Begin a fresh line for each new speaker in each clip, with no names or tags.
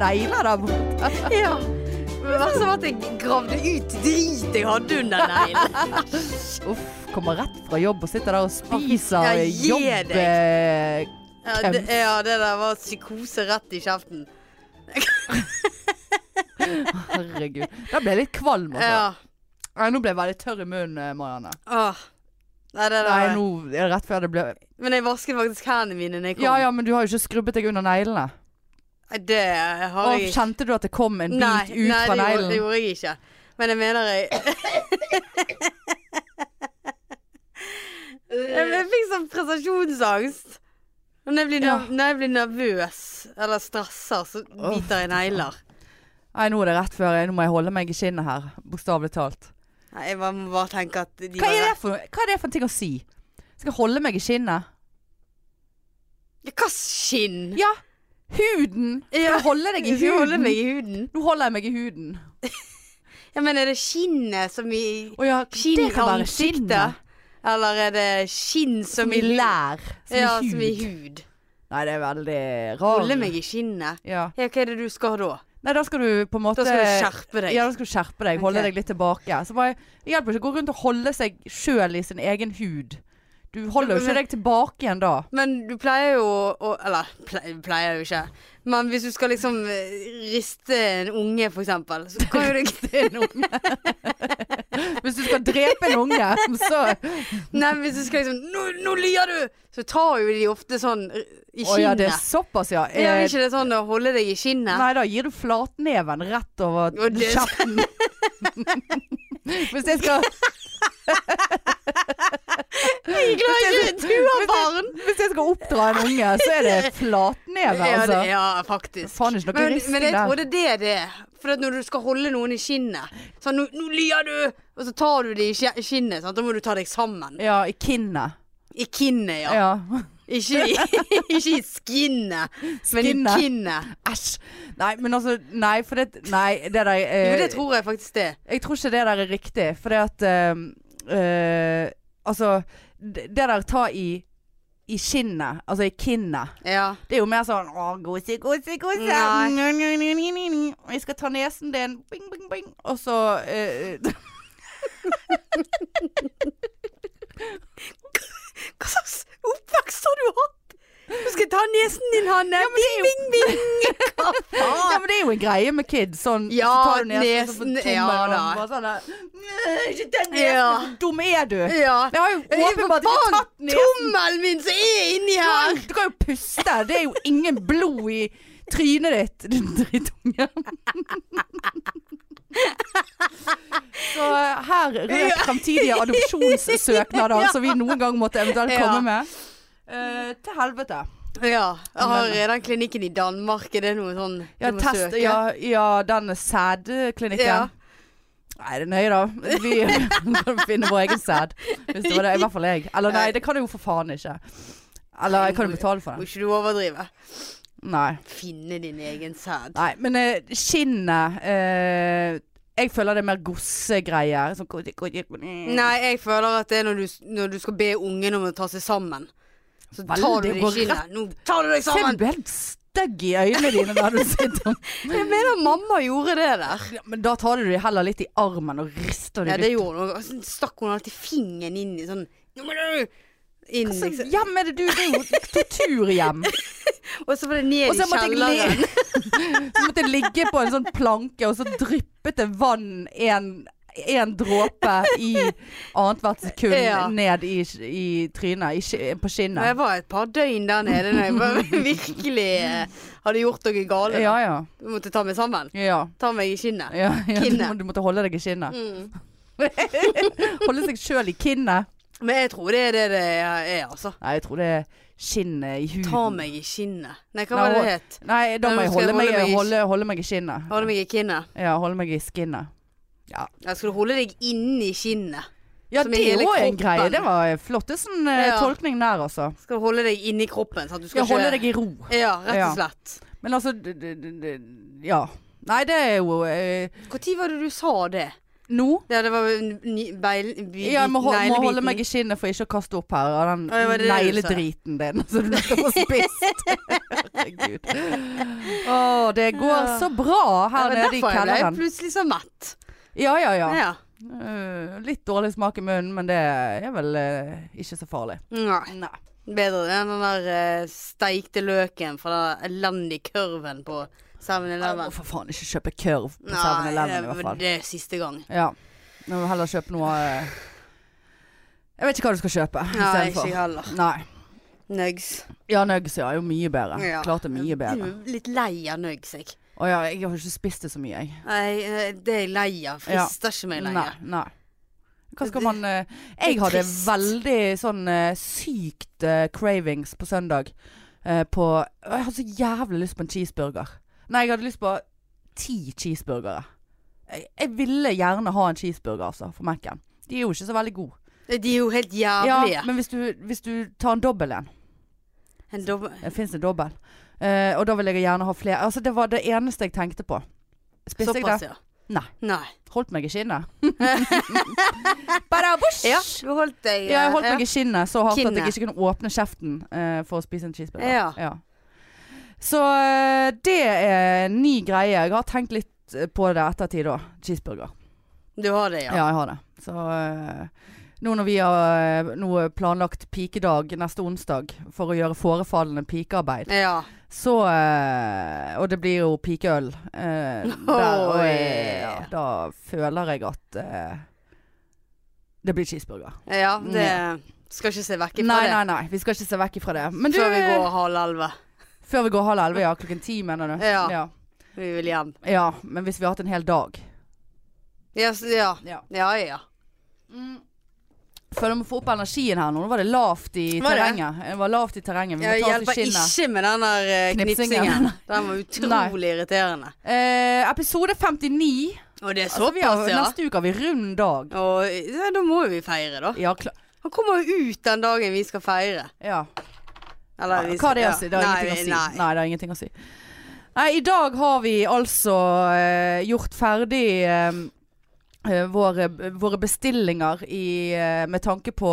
negler der borte.
Ja. Det var som at jeg gravde ut drit jeg hadde under neglen.
Uff, kommer rett fra jobb og sitter der og
Ja,
spiser
gi
jobb...
deg.
eh,
Ja, det, ja, det der var psykose rett i kjeften.
Herregud. Da ble jeg litt kvalm, altså.
Ja.
Nei, nå ble jeg veldig tørr i munnen, eh, Marianne.
Åh. Nei, det der.
Nei, nå er det rett før det ble
Men jeg vasket faktisk hendene mine når jeg kom.
Ja ja, men du har jo ikke skrubbet deg under neglene.
Nei, Det har
Og
jeg ikke.
kjente du at det kom en bit
Nei,
ut
nei
fra
det, gjorde, det
neglen?
gjorde jeg ikke. Men jeg mener jeg Jeg jeg fikk sånn prestasjonsangst. Og Når jeg blir, nerv- når jeg blir nervøs eller stresser, så biter jeg negler.
Nei, nå er det rett før jeg Nå må jeg holde meg i skinnet her. Bokstavelig talt.
Nei, jeg bare, må bare tenke at de
Hva
var
er, det for, hva er det for en ting å si? Skal jeg holde meg i skinnet?
Ja, Hva skinn?
Ja! Huden! Skal jeg holde deg i
Skal jeg holde
huden?
meg i huden?
Nå holder jeg meg i huden.
Ja, men er det skinnet som i
Å ja,
Skinn
det
i
kan være
ansiktet?
skinnet.
Eller er det skinn som,
Som i lær. Som
ja,
i
som i
hud.
hud.
Nei, det er veldig rart.
Holde meg i skinnet.
Ja.
Ja, hva er det du skal da?
Nei, da skal du på en måte
Da skal du skjerpe deg.
Ja, da skal du skjerpe deg. Holde
Ok.
deg litt tilbake. Så bare, det hjelper ikke å gå rundt og holde seg sjøl i sin egen hud. Du holder jo ikke deg tilbake igjen da.
Men du pleier jo å Eller pleier, pleier jo ikke. Men hvis du skal liksom eh, riste en unge, for eksempel, så kan jo du ikke
Hvis du skal drepe en unge, så
Nei, hvis du skal liksom Nå, nå lier du! Så tar jo de ofte sånn eh, i
Å ja, det er
skinnet.
såpass, ja.
Ja,
Eh,
er ikke det sånn å holde deg i skinnet?
Nei, da gir du flatneven rett over
Og det-
kjeften. Hvis jeg skal
Jeg er glad jeg ikke tuer barn!
Hvis jeg skal oppdra en unge, så er det flatneve,
Ja, det,
altså.
ja, faktisk.
Faen, ikke noe
men,
risking
men jeg
der.
trodde det er det. For at når du skal holde noen i skinnet Sånn, nå, nå lier du! Og så tar du de i skje- skinnet. Sant? Da må du ta deg sammen.
Ja, i kinnet.
I kinnet, ja.
Ja.
Ikke, i- ikke i skinnet, men i
Skinnet.
kinnet.
Æsj. Nei, men altså Nei, for det Nei, det der eh,
Jo, det tror jeg faktisk det.
Jeg tror ikke det der er riktig, for det at eh, eh, Altså, det det der ta i i skinnet, altså i kinnet.
Ja.
Det er jo mer sånn Å, gose, gose, gose.
Nei.
Nja, nja, nja, nja, nja, nja. Og Jeg skal ta nesen din. Bing, bing, bing. Og så eh,
Hva slags oppvekst har du hatt? Nå skal jeg ta nesen din, Hanne. bing, bing, bing. Hva
Ja,
faen?
men det er jo en greie med kids. Sånn,
Ah. Ja,
så tar du nesen, så
nesen,
får
ja
ja,
da.
Bare sånn der, «Nei, Ikke den nesen!
Ja.
Hvor dum er du?
Ja. Eh,
Jeg har jo åpenbart ikke tatt nesen.
tommelen min som er inni her!
Du kan jo puste. Det er jo ingen blod i trynet ditt, din drittunge. Så her røk fremtidige adopsjonssøknader som vi noen gang måtte eventuelt
Ja.
komme med. Eh, til helvete.
Ja. Jeg har den klinikken i Danmark. Er det noe sånn
Ja,
du må
test,
søke?
ja, ja den sædklinikken.
Ja.
Nei, det er nøye, da. Vi kan finne vår egen sæd. Hvis det var det. I hvert fall jeg. Eller nei, det kan jeg jo for faen ikke. Eller jeg kan jo betale for
Må
den.
ikke du overdrive.
Nei.
Finne din egen sæd.
nei men eh, skinnet eh, Jeg føler det er mer gossegreier. Sånn kodi, kodi, kodi.
Nei, jeg føler at det er når du, når du skal be ungen om å ta seg sammen. Så
Veldig,
tar du det i
går
kinnet. Nå tar du deg
Ser
sammen!
du helt stygg i øynene dine der du sitter?
Jeg mener mamma gjorde det der.
Ja, men da tar du det heller litt i armen og rister det
Ja,
litt.
det gjorde hun. Og så stakk hun alltid fingeren inn i sånn Nå må du! Inn,
Så
liksom.
hjem er det du? Det er jo torturhjem.
Og så var det ned
Og så
i
måtte jeg
kjelleren.
Så måtte jeg ligge på en sånn planke, og så dryppet det vann en, en dråpe i annethvert sekund
Ja.
ned i, i trynet, i, sk- på
Og
skinnet.
jeg var et par døgn der nede når jeg var virkelig eh, hadde gjort noe galt.
Ja, ja.
Jeg måtte ta meg sammen.
ja.
Ta meg i kinnet.
Ja, ja, du,
Kinnet.
må, du måtte holde deg i kinnet.
Mm.
Holde seg sjøl i kinnet.
Men jeg tror det er det det er, altså.
Nei, jeg tror det er skinnet i huden.
Ta meg i skinnet. Nei, hva
Nei,
var det
hold-
det het?
Nei, da
Nei,
må
nå
jeg
skal jeg
holde meg,
holde meg i-
holde, holde meg i skinnet.
Holde meg i kinnet.
Ja, holde meg i skinnet.
Jeg skulle holde deg inni kinnet.
Ja,
Som i
det
hele
òg er en
kroppen.
greie. Det var flottesen eh,
Ja.
tolkning der, altså.
Skal du holde deg inni kroppen. Sant? Du skal
Ja, holde
ikke
deg i ro.
Ja, rett
Ja.
og slett.
Men altså d- d- d- d- Ja. Nei, det er jo eh,
Når var det du sa det?
Nå
Ja, det var jo ny, beil, by,
ja, jeg må, hol- må
neglebiten.
holde meg i skinnet for ikke å kaste opp her av den
Oi, var det det du sa?
negledriten din som du nettopp har spist. Herregud. Å, det går så bra her
det var
nede i
derfor jeg ble
kjelleren.
plutselig så mett.
Ja, ja,
Ja.
ja.
ja.
Eh, litt dårlig smak i munnen, men det er vel eh, ikke så farlig.
Nei.
Nei.
Bedre det enn den der eh, steikte løken fra den elendige kurven på 7-Eleven.
Må for faen ikke kjøpe kurv på
Nei,
7-Eleven i hvert fall.
det er siste gang.
Ja. Jeg må heller kjøpe noe eh, Jeg vet ikke hva du skal kjøpe
Nei, ikke jeg
istedenfor.
heller.
Nei.
Nugs.
Ja, nuggets ja, er jo mye bedre. Klart det er mye bedre.
Jeg er Mm, Litt lei av nugs, jeg.
Å ja, jeg har ikke spist det så mye, jeg.
Nei, eh, det er jeg lei av. Frister ikke meg
Nei.
lenger.
nei. Hva skal man eh, Jeg
er
hadde
trist.
veldig sånn eh, sykt eh, cravings på søndag. eh, på Å, Jeg hadde så jævlig lyst på en cheeseburger. Nei, jeg hadde lyst på ti cheeseburgere. Jeg, jeg ville gjerne ha en cheeseburger, altså, for Mac-en. De er jo ikke så veldig gode.
De er jo helt
Ja,
jævlige.
men hvis du, hvis du tar en dobbel en
En dobbel
Det fins en dobbel. Eh, og da vil jeg gjerne ha flere. Altså, det var det eneste jeg tenkte på. Spiste jeg
Såpass,
det?
ja.
Nei.
Nei.
Holdt meg i skinnet. Bare bosh!
Ja, du holdt deg
Ja, jeg holdt
eh,
meg i skinnet så hardt at
Kinnet.
jeg ikke kunne åpne kjeften eh, for å spise en cheeseburger.
Ja.
Så eh, det er en ny greie. Jeg har tenkt litt eh, på det ettertid da. Cheeseburger.
Du har det,
Ja,
ja.
jeg har det. Så eh, nå når vi har eh, nå planlagt pikedag neste onsdag for å gjøre forefallende pikearbeid,
Ja.
så eh, Og det blir jo pikeøl. eh, der, og, eh, ja,
Oi.
da føler jeg at eh, det blir cheeseburger.
ja det skal ikke se vekk ifra
Nei,
det.
nei, nei. Vi skal ikke se vekk ifra det. Men du, eh,
Før vi går halv elleve.
Før vi går halv elleve, ja. Klokken ti, mener du?
Ja.
ja.
Vi vil hjem.
Ja, men hvis vi har hatt en hel dag.
Ja, s- ja.
Ja.
Ja, ja.
Mm. Føler vi må få opp energien her nå. Nå var det lavt i
Var det?
terrenget. Det var lavt i terrenget. Vi må
Jeg
ta oss
hjelper
i skinnet.
ikke med den der eh,
Knipsingen.
knipsingen. Den var utrolig irriterende.
Eh, episode 59.
Og det er
Altså, vi har,
såpass, ja.
Neste uke har vi rund dag.
Og ja, da må jo vi feire, da.
Ja, kla
Han kommer jo ut den dagen vi skal feire.
ja.
Eller vi
Hva er det å
ja.
si? Det har
Nei,
ingenting å si.
Nei.
Nei, det har ingenting å si. Nei, i dag har vi altså eh, gjort ferdig eh, eh, våre, våre bestillinger i, eh, med tanke på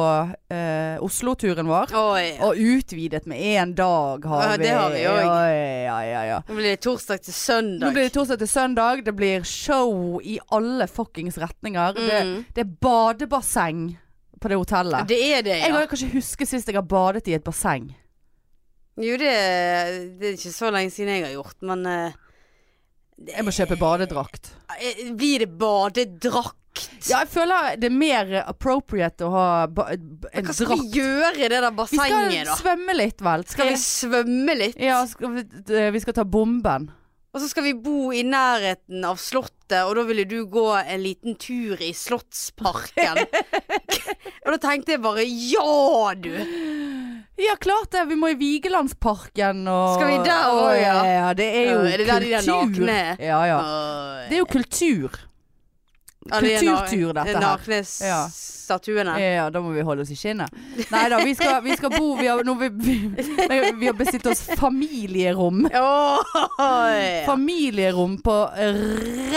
eh, Oslo-turen vår.
Oi.
Og utvidet med én dag har
Ja,
vi.
det har vi også.
Ja, ja, ja, ja.
Nå blir det torsdag til
Nå
søndag.
blir det torsdag til søndag. Det blir show i alle fuckings retninger.
Mm.
Det, det er badebasseng på det hotellet.
Det er det,
Jeg
ja.
kan ikke huske sist jeg har badet i et basseng.
Jo, det, det er ikke så lenge siden jeg har gjort, men eh,
Jeg må kjøpe badedrakt.
eh, Blir det badedrakt?
Ja, jeg føler det er mer appropriate å ha ba en
Hva skal
drakt.
vi gjøre i det der
Vi skal
bassenget, da?
svømme litt, vel.
Skal vi svømme litt?
Ja, skal vi, vi skal ta bomben.
Og så skal vi bo i nærheten av slottet, og da ville du gå en liten tur i Slottsparken. og da tenkte jeg bare ja, du!
Ja, klart det. Vi må i Vigelandsparken og
Skal vi der
Å,
også, ja?
ja? Det er jo
Ja, er det der de der
kultur.
nakne er?
Ja, ja.
Og-
Det er jo kultur.
Ja, det er na-
kulturtur, dette her.
Nakne s-
Ja.
statuene.
Ja, da må vi holde oss i skinnet. Nei da, vi skal, vi skal bo Vi har, nå, vi, vi, nei, vi har bestilt oss familierom.
Oi.
Familierom på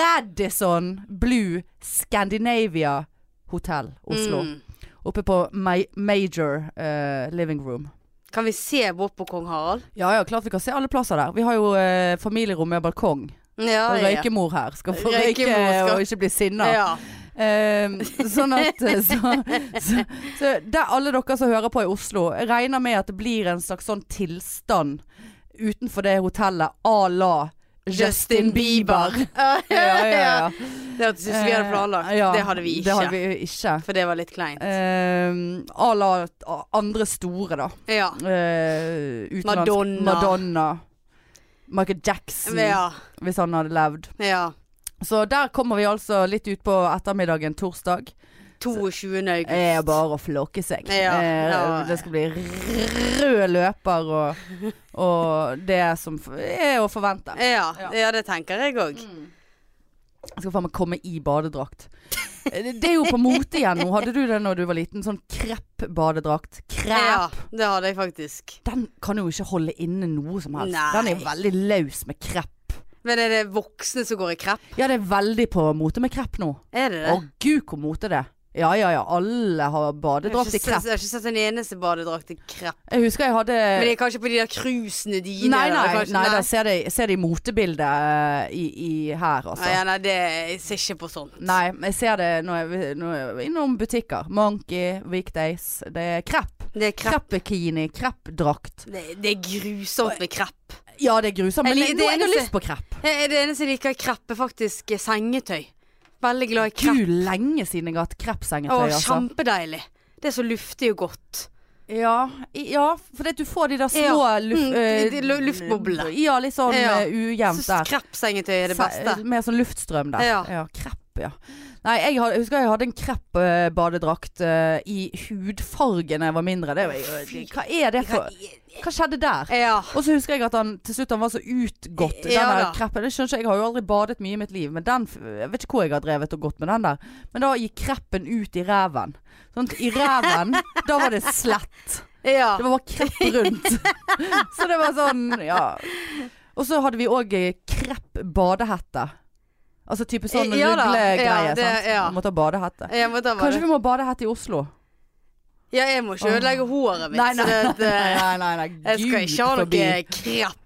Radisson Blue Scandinavia Hotel Oslo.
Mm.
Oppe på Ma Major eh, Living Room.
Kan vi se bort på kong Harald?
Ja ja, klart vi kan se alle plasser der. Vi har jo eh, familierom med balkong.
Ah, Ja,
Og røykemor her skal få
Røykemor
røyke
skal-
og ikke bli sinna.
Ja.
Ehm, sånn at eh, så, så, så der alle dere som hører på i Oslo, jeg regner med at det blir en slags sånn tilstand utenfor det hotellet à la Justin Bieber. Ja, ja, ja.
Det hørtes ut som vi hadde planlagt.
Eh, ja,
det hadde vi ikke.
Det hadde vi ikke.
For det var litt kleint.
Ehm, à la a- andre store, da.
ja.
Eh, utenlandsk-
Madonna.
Madonna. Michael Jackson,
ja.
hvis han hadde levd.
ja.
Så der kommer vi altså litt ut på ettermiddagen torsdag.
22. august.
er bare å flokke seg.
Ja,
Eh,
ja.
Det skal bli rød løper og, og det som f- er å forvente.
Ja,
Ja. Mm.
ja, det tenker jeg òg.
Jeg skal faen meg komme i badedrakt. Eh, Det er jo på mote igjen nå. Hadde du det når du var liten? Sånn krepp-badedrakt. Krepp.
Ja, det hadde jeg faktisk.
Den kan jo ikke holde inne noe som helst.
Nei.
Den er jo veldig løs med krepp.
Men er det voksne som går i krepp?
Ja, det er veldig på mote med krepp nå.
Er det
Å
det?
gud, hvor mote det er. Ja, ja, ja. Alle har
Jeg har
badedrakt i
ikke sett-
krepp.
jeg har ikke sett en eneste badedrakt i krepp.
Jeg husker jeg hadde
Men det er kanskje på de der cruisene dine?
Nei,
eller
nei,
kanskje-
nei da ser de, ser de motebildet eh, i, i her, altså.
Nei, ja, nei, det jeg ser ikke på sånt.
Nei, jeg ser det når jeg, når jeg er innom butikker. Monkey, Weekdays. Det er krepp.
Det er krepp.
Kreppbikini, kreppdrakt.
Det, det er grusomt med krepp.
Ja, det er grusomt, men
Jeg
jeg, nå
liker- det
har jeg
eneste-
lyst på krepp.
Det er det eneste jeg liker i krepp, er faktisk eh, sengetøy. Veldig glad i krepp.
Gud, lenge siden jeg har hatt
Å,
kreppsengetøy, altså.
kjempedeilig. Det er så luftig og godt.
Ja, i- ja for det at du får de der små
Ja.
luf,
Mm,
eh,
de- de lu- luftboblene.
Ja, litt sånn
Ja.
eh, ujevnt
Så
der.
Kreppsengetøy er det
Se-
beste.
Mer sånn luftstrøm der.
Ja.
krepp, ja. Nei, jeg, had, jeg husker jeg hadde en krepp eh, badedrakt eh, i hudfarge da jeg var mindre. Det, var jo- hva er det for Hva skjedde der?
Ja.
Og så husker jeg at han til slutt han var så utgått. Den
Ja
der
da.
kreppen. Det skjønner ikke, jeg. jeg har jo aldri badet mye i mitt liv, men den f- Jeg vet ikke hvor jeg har drevet og gått med den der. Men da gikk kreppen ut i ræven. Sånn at i ræven, da var det slett.
ja.
Det var bare krepp rundt. Så det var sånn, ja. Og så hadde vi òg krepp badehette. Altså type sånn
Ja da.
ruglegreie.
Ja, det-
sant?
ja.
Du måtte ha badehette.
Jeg må ta bare
Kanskje vi må ha badehette i Oslo?
Ja, jeg må ikke
Åh.
ødelegge håret mitt.
Nei, nei,
så det,
Nei,
at,
nei,
eh,
nei. nei.
jeg skal
Gud
ikke ha
forbi.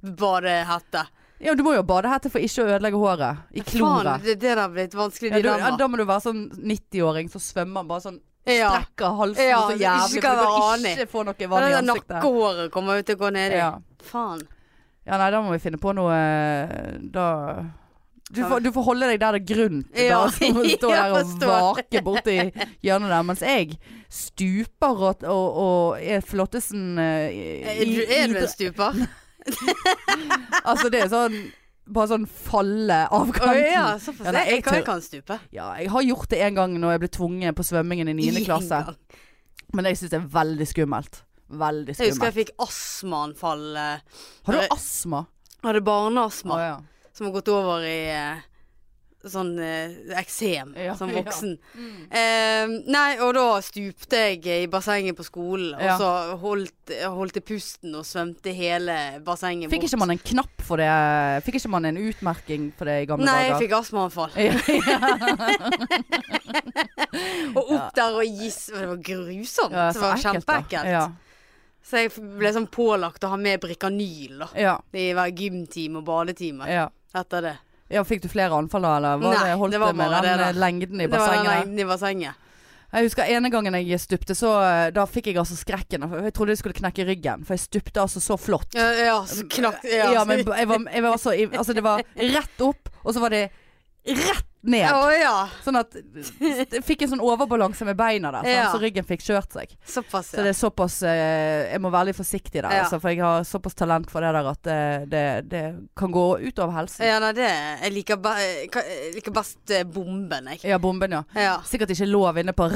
noe kreppbadehette.
Ja, men du må jo ha badehette for ikke å ødelegge håret. I
Faen,
kloret.
det, det der har blitt vanskelig
Ja, du, ja,
dilemma.
da må du være sånn 90-åring som svømmer bare sånn
Ja.
Strekker halsen
Ja,
så
det-
jævlig.
ikke
for
kan
du
være
kan
aning.
ikke få noe
Og
vann i
det der
ansiktet.
nakkehåret kommer jo til å gå ned i.
Ja.
Faen.
ja, nei, da må vi finne på noe eh, Da du får, du får holde deg der det er grunt.
Ja.
Da, så må du stå
Ja,
der og
forstår.
vake borti hjørnet der. Mens jeg stuper og, og, og er flottesen eh, i,
Er du,
i,
er du en stuper?
Altså, det er sånn Bare sånn falle av
Å
kanten.
ja, såpass.
Ja, nei,
jeg,
jeg
kan, jeg
tør-
kan stupe.
Ja, jeg har gjort det en gang når jeg ble tvunget på svømmingen i 9. klasse.
Ingen gang.
Men jeg syns det er veldig skummelt. Veldig
Jeg husker
skummelt.
jeg fikk astmaanfall. eh,
Har du astma?
Jeg hadde barneastma
Å, ja.
som har gått over i eh, sånn eh, eksem
Ja,
som
ja. Mm.
voksen. Eh, nei, og da stupte jeg i bassenget på skolen,
Ja.
og så holdt, holdt jeg pusten og svømte hele bassenget
Fikk ikke man en knapp for det? Fikk ikke man en utmerking for det i gamle
Nei, jeg
dager?
fikk astmaanfall.
fikk
Og opp der og gis Det var grusomt. det var kjempeekkelt.
Ja,
Så jeg ble sånn pålagt å ha med Brikanyl da.
ja,
i hver gymtime og badetime
ja.
etter det.
ja, fikk du flere anfall da, eller? Var
Nei,
det, holdt
det
det
var
med
bare
den eh,
det da.
lengden i
Det var den
bassenget?
lengden i bassenget.
Jeg husker ene gangen jeg stupte, så eh, da fikk jeg altså skrekken. for Jeg trodde jeg skulle knekke ryggen, for jeg stupte altså så flott.
Ja, ja, så knakk
Ja, men jeg var, jeg var så i- Altså, det var rett opp, og så var det rett ned.
Å ja.
Sånn at jeg fikk en sånn overbalanse med beina der, sånn,
Ja.
så ryggen fikk kjørt seg.
Såpass,
Så
ja.
det er såpass eh, Jeg må være litt forsiktig der,
Ja.
altså, for jeg har såpass talent for det der at det, det, det kan gå utover helsen.
Ja, nei, det Jeg liker, be, jeg liker best eh, bomben, jeg.
Ja, bomben, ja.
Ja.
Sikkert ikke lov inne på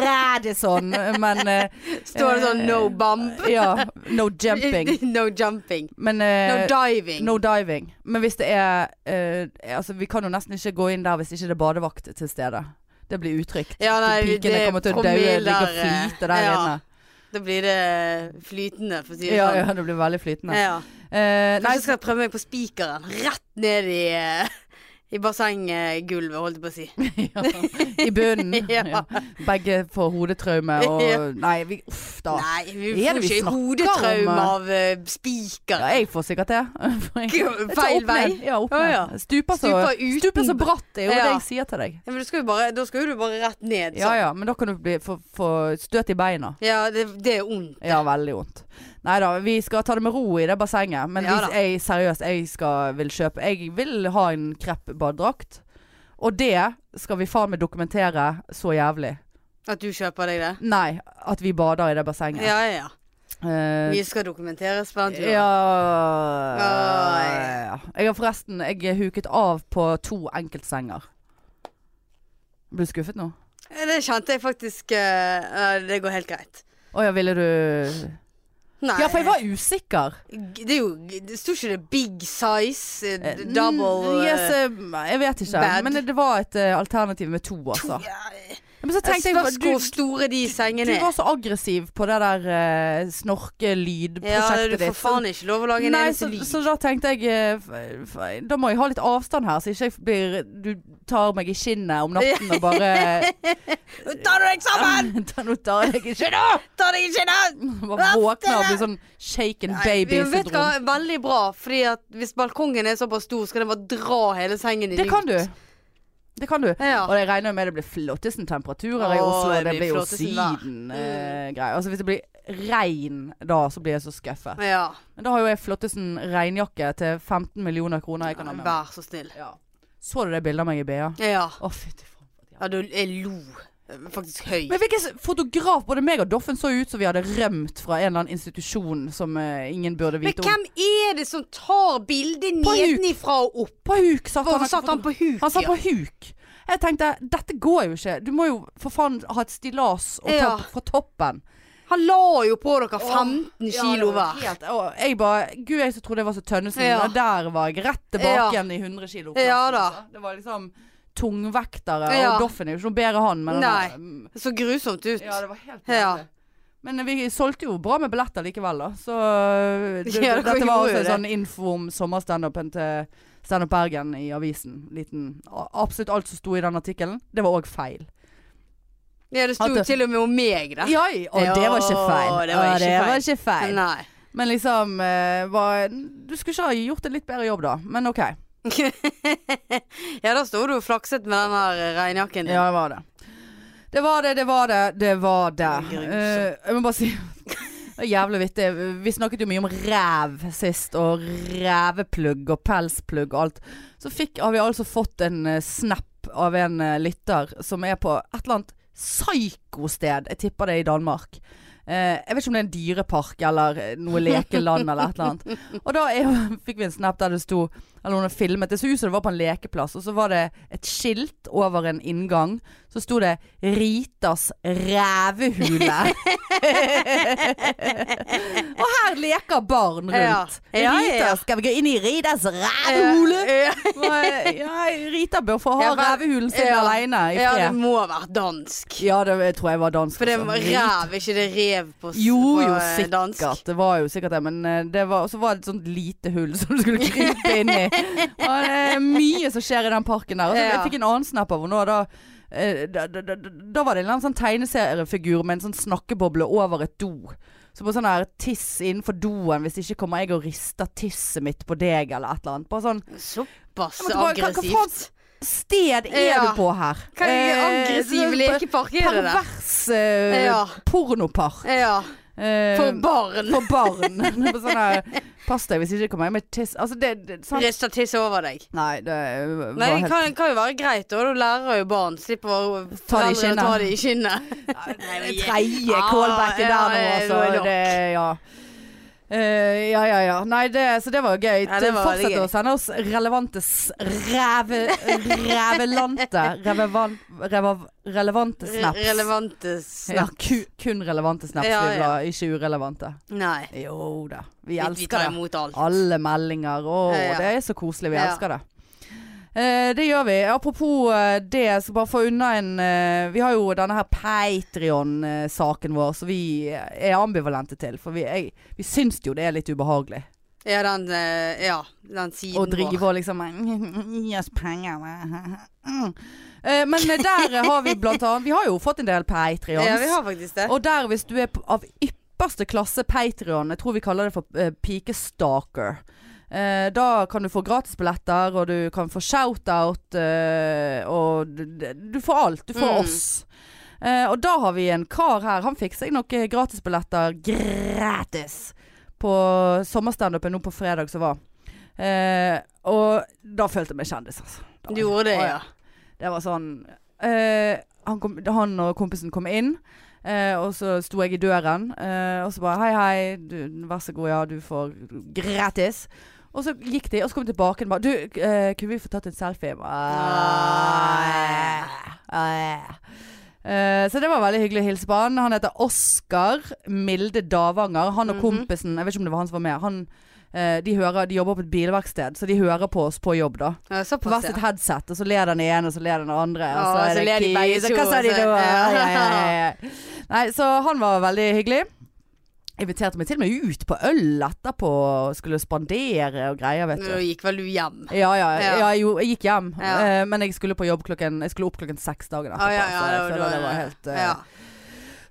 Radisson, men eh,
Står det sånn
eh,
'no bomb'?
Ja, no jumping.
no jumping.
Men
No
eh,
diving.
no diving. Men hvis det er eh, Altså, vi kan jo nesten ikke gå inn der hvis ikke det er badevakt til stede. Det blir utrygt.
ja, nei,
Pikene
det
kommer til å daue,
promiller,
ligge og
eh,
flyte der
ja,
inne.
Da blir det flytende, for å si det
Ja,
sånn.
ja, det blir veldig flytende.
Ja.
Eh, nei,
Kanskje jeg skal prøve meg på spikeren. Rett ned i, eh, i bassenggulvet, holdt jeg på å si.
i bunnen.
Ja.
ja. Begge får hodetraume og
Ja.
Nei, vi, uff da.
Nei, vi
Hva er
får
det vi
ikke
snakker om,
hodetraume
eh?
av eh, spiker.
Ja, jeg får sikkert det. Jeg tar
Feil
opp
vei.
ned. Ja, opp
Å,
ned.
ja.
Stuper, så,
Stuper uten-
stuper så bratt, det er jo
Ja.
det jeg sier til deg.
Ja, men da skal, jo bare, da skal jo du bare rett ned.
Ja
Sånn.
ja, men da kan du bli, få, få støt i beina.
Ja, det, det er ondt.
Ja, veldig vondt. Nei da, vi skal ta det med ro i det bassenget. Men
Ja
hvis
da.
jeg seriøst jeg skal, vil kjøpe Jeg vil ha en krepp badedrakt. Og det skal vi faen meg dokumentere så jævlig.
At du kjøper deg det.
Nei, at vi bader i det bassenget.
Ja, ja, ja.
Eh,
Vi sånn skal dokumentere spennende turer.
ja Jeg har forresten Jeg er huket av på to enkeltsenger. Blir du skuffet nå?
Det kjente jeg faktisk eh, nei, Det går helt greit.
Å ja, ville du
Nei.
Ja, for jeg var usikker.
Det er jo Det sto ikke det big size, eh,
Eh,
double
mm, yes,
eh,
eh, Jeg vet ikke.
bad.
Men det, det var et eh, alternativ med to, altså.
ja, eh,
Men Men så
Jeg
tenkte
ser
jeg
bare
bare
hvor
du,
store de sengene
du
er.
var så aggressiv på det der eh,
Ja,
snorkelydprosjektet
du får
ditt. så-
faen ikke lov å lage en
Nei,
eneste
så,
lyd.
så da tenkte jeg eh, f- f- Da må jeg ha litt avstand her, så ikke jeg blir Du tar meg i skinnet om natten og bare
Nå tar du deg sammen!
Ta- Nå tar jeg deg i skinnet!
Ta deg i kinnet!
Bare våkner og blir sånn shaken
Vet du hva,
baby-syndrom.
veldig bra, fordi at hvis balkongen er såpass stor, skal den bare dra hele sengen din
Det kan du. Det kan du.
Ja.
Og jeg regner jo med det blir flotteste temperaturer i
Åh,
Oslo.
det
Det
blir
blir jo
flotteste Mm. vær.
Syden-greier. altså hvis det blir regn da, så blir jeg så skuffet.
ja.
Men da har jo jeg flottesen regnjakke til 15 millioner kroner jeg kan ha med meg.
Vær så snill.
Ja. Så du det bildet av meg i BA?
Ja.
Å, fytti faen. for et
Ja, du, jeg lo eh, faktisk høyt.
Men hvilken s- fotograf Både meg og Doffen så ut som vi hadde rømt fra en eller annen institusjon som eh, ingen burde
Men
vite om.
hvem er det som tar bildet
På huk.
nedenifra og opp?
På huk satt han.
Hvorfor satt han på huk?
Han satt
ja?
på huk. Jeg tenkte dette går jo ikke. Du må jo for faen ha et stillas og ta
Ja.
opp fra toppen.
han la jo på dere 15
Åh, ja,
kilo
det var
hver.
helt- åh, Jeg bare Gud, jeg som trodde jeg var så Tønnesen.
Ja.
Og der var jeg rett tilbake
Ja.
igjen i 100 kilo.
Ja da.
altså. Det var liksom tungvektere.
Ja.
Og Doffen er jo ikke noe bedre, han. Men
Nei.
Han,
Det Så grusomt ut.
Ja, det var helt
Ja.
jævlig. Men vi solgte jo bra med billetter likevel, da. Så det,
Ja, dere
dette var
gjorde
også en
det.
sånn info om sommerstandupen til Standup Bergen i avisen. Liten, a- absolutt alt som sto i den artikkelen, det var òg feil.
Ja, det sto
At det-
til og med om meg der.
Ja, ja, og det var ikke feil.
Ja, det var
Ja,
ikke
det
feil.
var ikke feil.
Nei.
Men liksom eh, var, Du skulle ikke ha gjort en litt bedre jobb, da. Men OK.
Ja, da sto du og flakset med den her regnjakken din.
Ja, det var det. Det var det, det var det, det var det.
Det er grusomt.
Eh, jeg må bare si det er Jævlig vittig. Vi snakket jo mye om ræv sist, og ræveplugg og pelsplugg og alt. Så fikk, har vi altså fått en eh, snap av en eh, lytter som er på et eller annet psykosted. Jeg tipper det er i Danmark. Eh, jeg vet ikke om det er en dyrepark eller eh, noe lekeland eller et eller annet. Og da er, jo- fikk vi en snap der det sto Eller noen har filmet. Det så ut som det var på en lekeplass. Og så var det et skilt over en inngang. Så sto det 'Ritas rævehule'. og her leker barn rundt.
Ja. Ja, ja, ja.
Rita, skal vi gå inn i Ritas rævehule?
Eh, Ja,
Og, Ja, Rita bør få ha
Ja, men-
rævehulen sin
ja.
aleine i
ja, det
fred.
må ha vært dansk.
Ja, det tror jeg var dansk.
For det
også.
var rev, ikke det rev på, s-
Jo,
på
jo,
eh,
sikkert.
dansk?
Det var jo sikkert det. Men eh, det var, og så var det et sånt lite hull som du skulle krype inn i. Og det er mye som skjer i den parken der. Og så
Ja.
Jeg fikk en annen snap av henne. og Da, eh, da, da, da, da var det en eller annen sånn tegneseriefigur med en sånn snakkeboble over et do. Så på sånn her tiss innenfor doen, hvis ikke kommer jeg og rister tisset mitt på deg eller et eller annet. Bare sånn
Såpass
Jeg måtte bare- hva- hva
aggressivt.
Sted er
Ja.
du på her?
Hva er
Eh,
aggressiv
så-
lekepark er det der?
Pervers eh,
Ja.
pornopark.
Ja,
Eh,
for barn.
For barn. Det var sånn her, Pass deg hvis ikke kommer jeg med tiss. Altså det, det sånn.
Rista tiss over deg.
Nei, det var
Nei, det
helt
kan, kan jo være greit, da. Da lærer jo barn. Slipper å-
Ta det i
foreldrene
kinnet.
å ta det i kinnet.
Tredje
Ah,
callbacken
ja,
der nå,
ja,
altså.
det var nok.
Det, ja. Eh, ja, ja, ja. Nei, det, så det var gøy.
Ja, det var veldig
Fortsett
gøy.
å sende oss relevante s- ræve... Rævelante revevan, revav, Relevante snaps.
Relevante
Ja,
snakk.
ku, kun relevante snaps
Ja,
vi vil ha, ikke urelevante.
Nei.
Jo da. Vi
Vi, vi
elsker
tar
det.
imot alt.
Alle meldinger. Å,
Ja, ja.
det er så koselig. Vi
Ja.
elsker det. Eh, det gjør vi. Apropos eh, det, så bare få unna en eh, Vi har jo denne her Patrion-saken vår som vi er ambivalente til. For vi, jeg, vi syns jo det er litt ubehagelig
Ja, den, eh, ja, den siden
å drive og liksom Gi oss penger. Eh, men der har vi blant annet Vi har jo fått en del Patrions.
Ja, vi har faktisk det.
Og der, hvis du er p- av ypperste klasse Patreon, jeg tror vi kaller det for eh, pikestalker. Eh, da kan du få gratisbilletter, og du kan få shoutout, eh, og du, du får alt. Du får
Mm.
oss. Eh, og da har vi en kar her. Han fikk seg noen eh, gratisbilletter gratis på sommerstandupen nå på fredag som var. Eh, og da følte jeg meg kjendis, altså. Da-
Du gjorde det,
Å,
ja.
det var sånn eh, han, kom, han og kompisen kom inn, eh, og så sto jeg i døren. eh, og så bare Hei, hei, du, vær så god, ja, du får gratis. Og så gikk de, og så kom de tilbake og bare Du, eh, kunne vi få tatt en selfie? Jeg bare, «Æ, æ». Eh, så det var veldig hyggelig å hilse på han. Han heter Oskar Milde Davanger. Han og
Mhm.
kompisen Jeg vet ikke om det var han som var med. Han eh, de, hører, de jobber på et bilverksted, så de hører på oss på jobb, da.
Ja,
På
såpass,
hvert sitt
ja.
headset, og så ler den ene, og så ler den andre. Og
Ja,
så, er
så
det
ler de
Keith,
begge
og
to,
Hva sa de
så-
da? Ja,
Ja.
ja, ja, ja. Nei, så han var veldig hyggelig. Inviterte meg til og med ut på øl etterpå, og skulle spandere og greier, vet du.
Nå gikk vel du hjem.
Ja, ja,
Ja.
ja. jeg, gjorde- jeg gikk hjem,
Ja.
eh, men jeg skulle på jobb klokken Jeg skulle opp klokken seks dagen etterpå.
Å,
så,
ja, ja,
altså, jeg
det
føler
var-
det var helt, eh,
ja.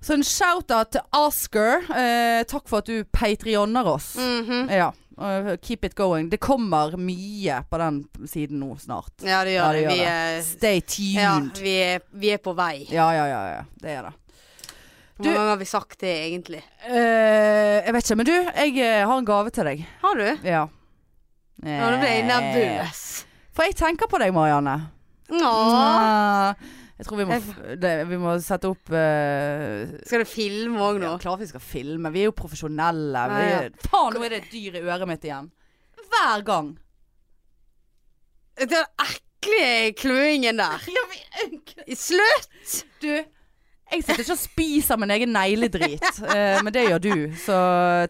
så en shout-out til Oscar. Eh, takk for at du patrioner oss.
Mhm.
Ja, eh, keep it going. Det kommer mye på den siden nå snart.
ja, det gjør
Ja,
det.
det gjør
Vi er,
Stay tuned.
ja,
Ja,
vi er, vi er på vei.
ja, ja, ja, det er det.
Hvor
Du-
mange ganger har vi sagt det, egentlig?
Eh, jeg vet ikke, men du, jeg eh, har en gave til deg.
Har du?
Ja.
Ja, nå ble jeg
Eh,
nervøs.
For jeg tenker på deg, Marianne.
Åh.
Jeg tror vi må, f- det, vi må sette opp eh,
Skal du filme òg nå?
Ja, klart vi skal filme. Vi er jo profesjonelle. Vi
Ja, ja.
er... Faen, nå er det et dyr i øret mitt igjen. Hver gang.
Den ekle kløingen der. Slutt!
Du, jeg sitter ikke og spiser min egen negledrit, eh, men det gjør du. Så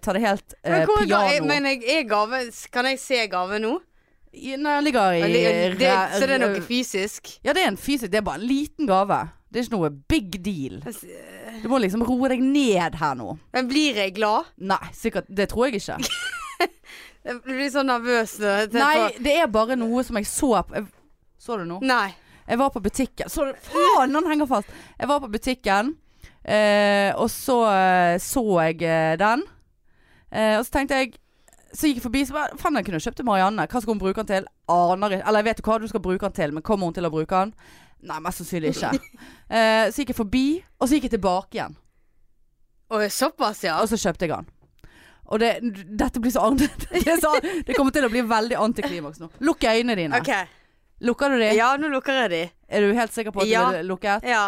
ta det helt eh,
Men, hvor er ga- jeg,
piano.
men jeg, er gave, kan jeg se gave nå?
I- Nei, den ligger i
Eller, det,
re-
så det er noe fysisk?
Ja, det er en fysisk Det er bare en liten gave. Det er ikke noe big deal. Du må liksom roe deg ned her nå.
Men blir jeg glad?
Nei, sikkert Det tror jeg ikke.
Jeg blir så nervøs når jeg tenker
Nei, det er bare noe som jeg så på jeg- Så du nå?
på Nei.
Jeg var på butikken så, Faen, den henger fast Jeg var på butikken eh, Og så eh, så jeg eh, den eh, Og så tenkte jeg Så gikk jeg forbi Så bare, faen jeg kunne kjøpt til Marianne Hva skal hun bruke den til? Aner ikke Eller jeg vet jo hva du skal bruke den til Men kommer hun til å bruke den? Nei, mest sannsynlig ikke eh, Så gikk jeg forbi Og så gikk jeg tilbake igjen
Å, såpass, ja.
Og så kjøpte jeg den og det, dette blir så annet det, er så- det kommer til å bli veldig antiklimaks nå Lukk øynene dine
OK.
Lukker du de?
Ja, nå lukker jeg de.
Er du helt sikker på at
Ja.
du vil lukke et?
Ja.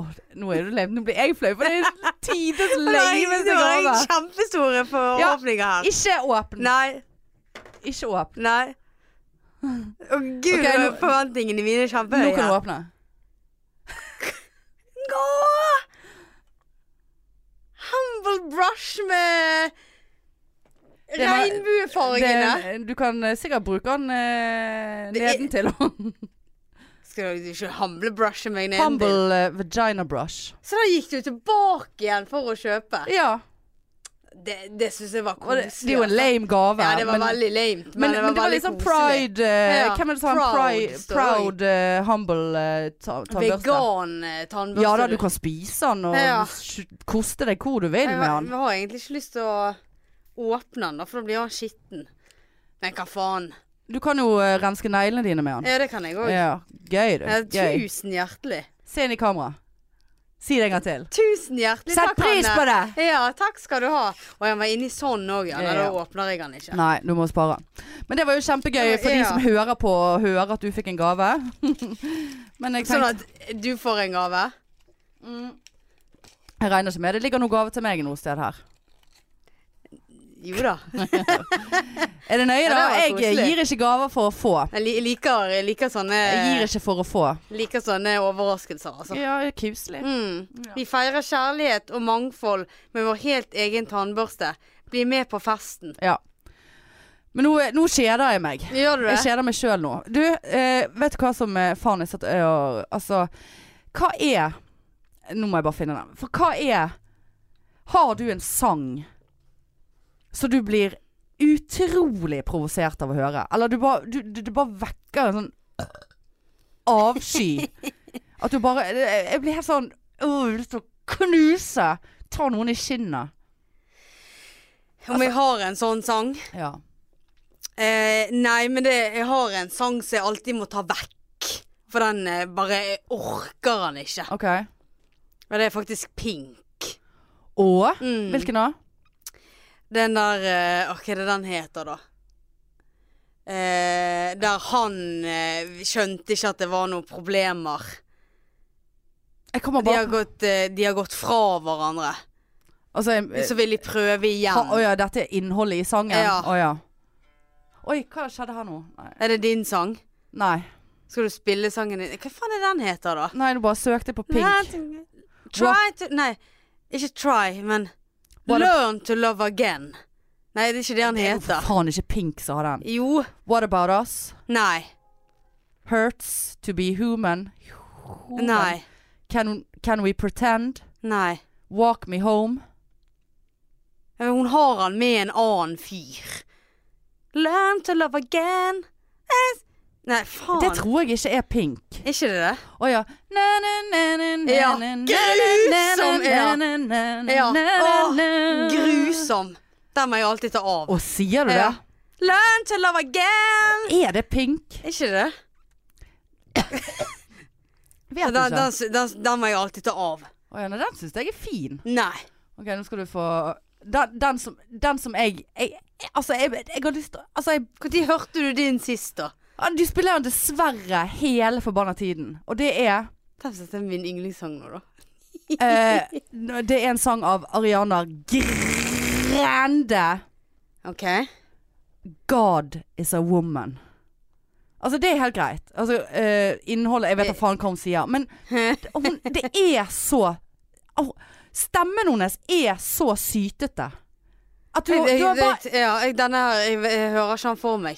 Åh, nå er du lei. Nå blir jeg flau, for det er tides leiveste
det var
gave.
kjempestore forhåpninger her.
Ikke åpne.
Nei.
Ikke åpne.
Nei. Å gud,
Ok, nå-
forventningene mine er
Nå
kjempehøye.
kan du åpne.
Åh! Humble brush med
Det var-
regnbuefargene.
Det, du kan eh, sikkert bruke den eh,
Det er-
nedentil.
Skal du ikke humble brushe meg ned? til?
Humble eh, vagina brush.
Så da gikk du tilbake igjen for å kjøpe.
Ja.
Det, det syns jeg var
Og det,
koselig.
det er jo en
altså.
lame gave.
Ja, det var
men-
veldig lamet, men,
men, men
det var,
det var
veldig
litt sånn
koselig.
pride eh,
Ja,
Hvem er det som har en
proud
pride,
står det.
proud eh, humble eh, ta- tannbørste?
Vegan-tannbørste.
Ja da, du kan spise den og
Ja.
sj- koste deg hvor du vil
Jeg
med
har,
den.
jeg har egentlig ikke lyst til å åpne den, da, for da blir han skitten. Men hva faen.
Du kan jo eh, renske neglene dine med den.
Ja, det kan jeg òg.
Ja, gøy du. Gøy.
Tusen hjertelig.
Se inn i kamera. Si det en gang til.
Tusen hjertelig
Sett
takk,
pris på det!
Ja, takk skal du ha. Og jeg var inni sånn òg, ja. Nei,
Ja.
Da åpner jeg den ikke.
Nei, du må spare den. Men det var jo kjempegøy for de
Ja.
som hører på og hører at du fikk en gave. Men jeg
Sånn
tenkte
at du får en gave.
Jeg regner ikke med det ligger noen gave til meg noe sted her.
Jo da.
Er det nøye,
Ja, det
da?
var
Jeg
koselig.
gir ikke gaver for å få.
Jeg li- liker, jeg liker sånne
Jeg gir ikke for å få.
Liker sånne overraskelser, altså.
Ja, kuselig.
Mm.
Ja.
Vi feirer kjærlighet og mangfold med vår helt egen tannbørste. Bli med på festen.
Ja. Men nå, nå kjeder jeg meg.
Gjør du
Jeg
det?
kjeder meg sjøl nå. Du, eh, vet du hva som eh, Faen, jeg satt og Altså, hva er Nå må jeg bare finne den. For hva er Har du en sang så du blir utrolig provosert av å høre? Eller du bare, du, du, du bare vekker en sånn avsky. At du bare Jeg jeg blir helt sånn Åh, jeg har lyst til å knuse. Ta noen i kinnet.
Om jeg har en sånn sang?
Ja.
Eh, nei, men det, jeg har en sang som jeg alltid må ta vekk. For den eh, bare jeg orker den ikke.
OK.
Og det er faktisk pink.
Og
Mm.
hvilken da?
Den der eh, Åh, Hva er det den heter, da? Eh, der han eh, skjønte ikke at det var noen problemer.
Jeg kommer
De har
bare
gått, eh, de har gått fra hverandre.
Altså, jeg,
Så vil de prøve
Ha,
igjen.
å ja, dette er innholdet i sangen?
Ja.
Å ja. Oi, hva skjedde her nå? Nei.
Er det din sang?
Nei,
Skal du spille sangen din? Hva faen er den heter, da?
Nei du bare søkte på pink.
Nei, Try to Nei, ikke try, men
What a-
Learn to love again. Nei, det er ikke det han
Det er jo for
heter.
faen ikke Pink som har den.
Jo.
What about us?
Nei.
Hurts to be human. Human.
Nei.
Can, can we pretend?
Nei.
Walk me home.
Eh, Hun har han med en annen fyr. Learn to love again. Eh, Nei, faen.
Det tror jeg ikke er Pink.
Er ikke det det?
Å ja. Na, na, na, na, na,
Ja,
na, na,
grusom,
na,
ja.
na, na, na,
Ja.
na,
Åh,
na.
Grusom. Den må jeg alltid ta av.
Å, sier du
Ja.
det?
Learn to love again.
Er det Pink?
Er ikke det det?
Vet
Den,
ikke.
den, den, den må jeg alltid ta av.
Å ja, nei, den syns jeg er fin.
Nei.
Ok, nå skal du få Den, den, som, den som jeg, jeg, jeg Altså, jeg, jeg har lyst til Altså, jeg
Når hørte du din sist, da?
Ah, Du spiller den dessverre hele forbanna tiden. Og det er
Tenk hvis dette er min yndlingssang nå, da.
eh, n- Det er en sang av Ariana Grande.
OK.
'God is a woman'. Altså, det er helt greit. Altså, eh, innholdet Jeg vet da faen hva hun sier. Men det- hun, det er så Au, Stemmen hennes er så sytete. At du,
Jeg-
du har
jeg-
bare
jeg- ja, jeg, denne her jeg, jeg hører ikke han for meg.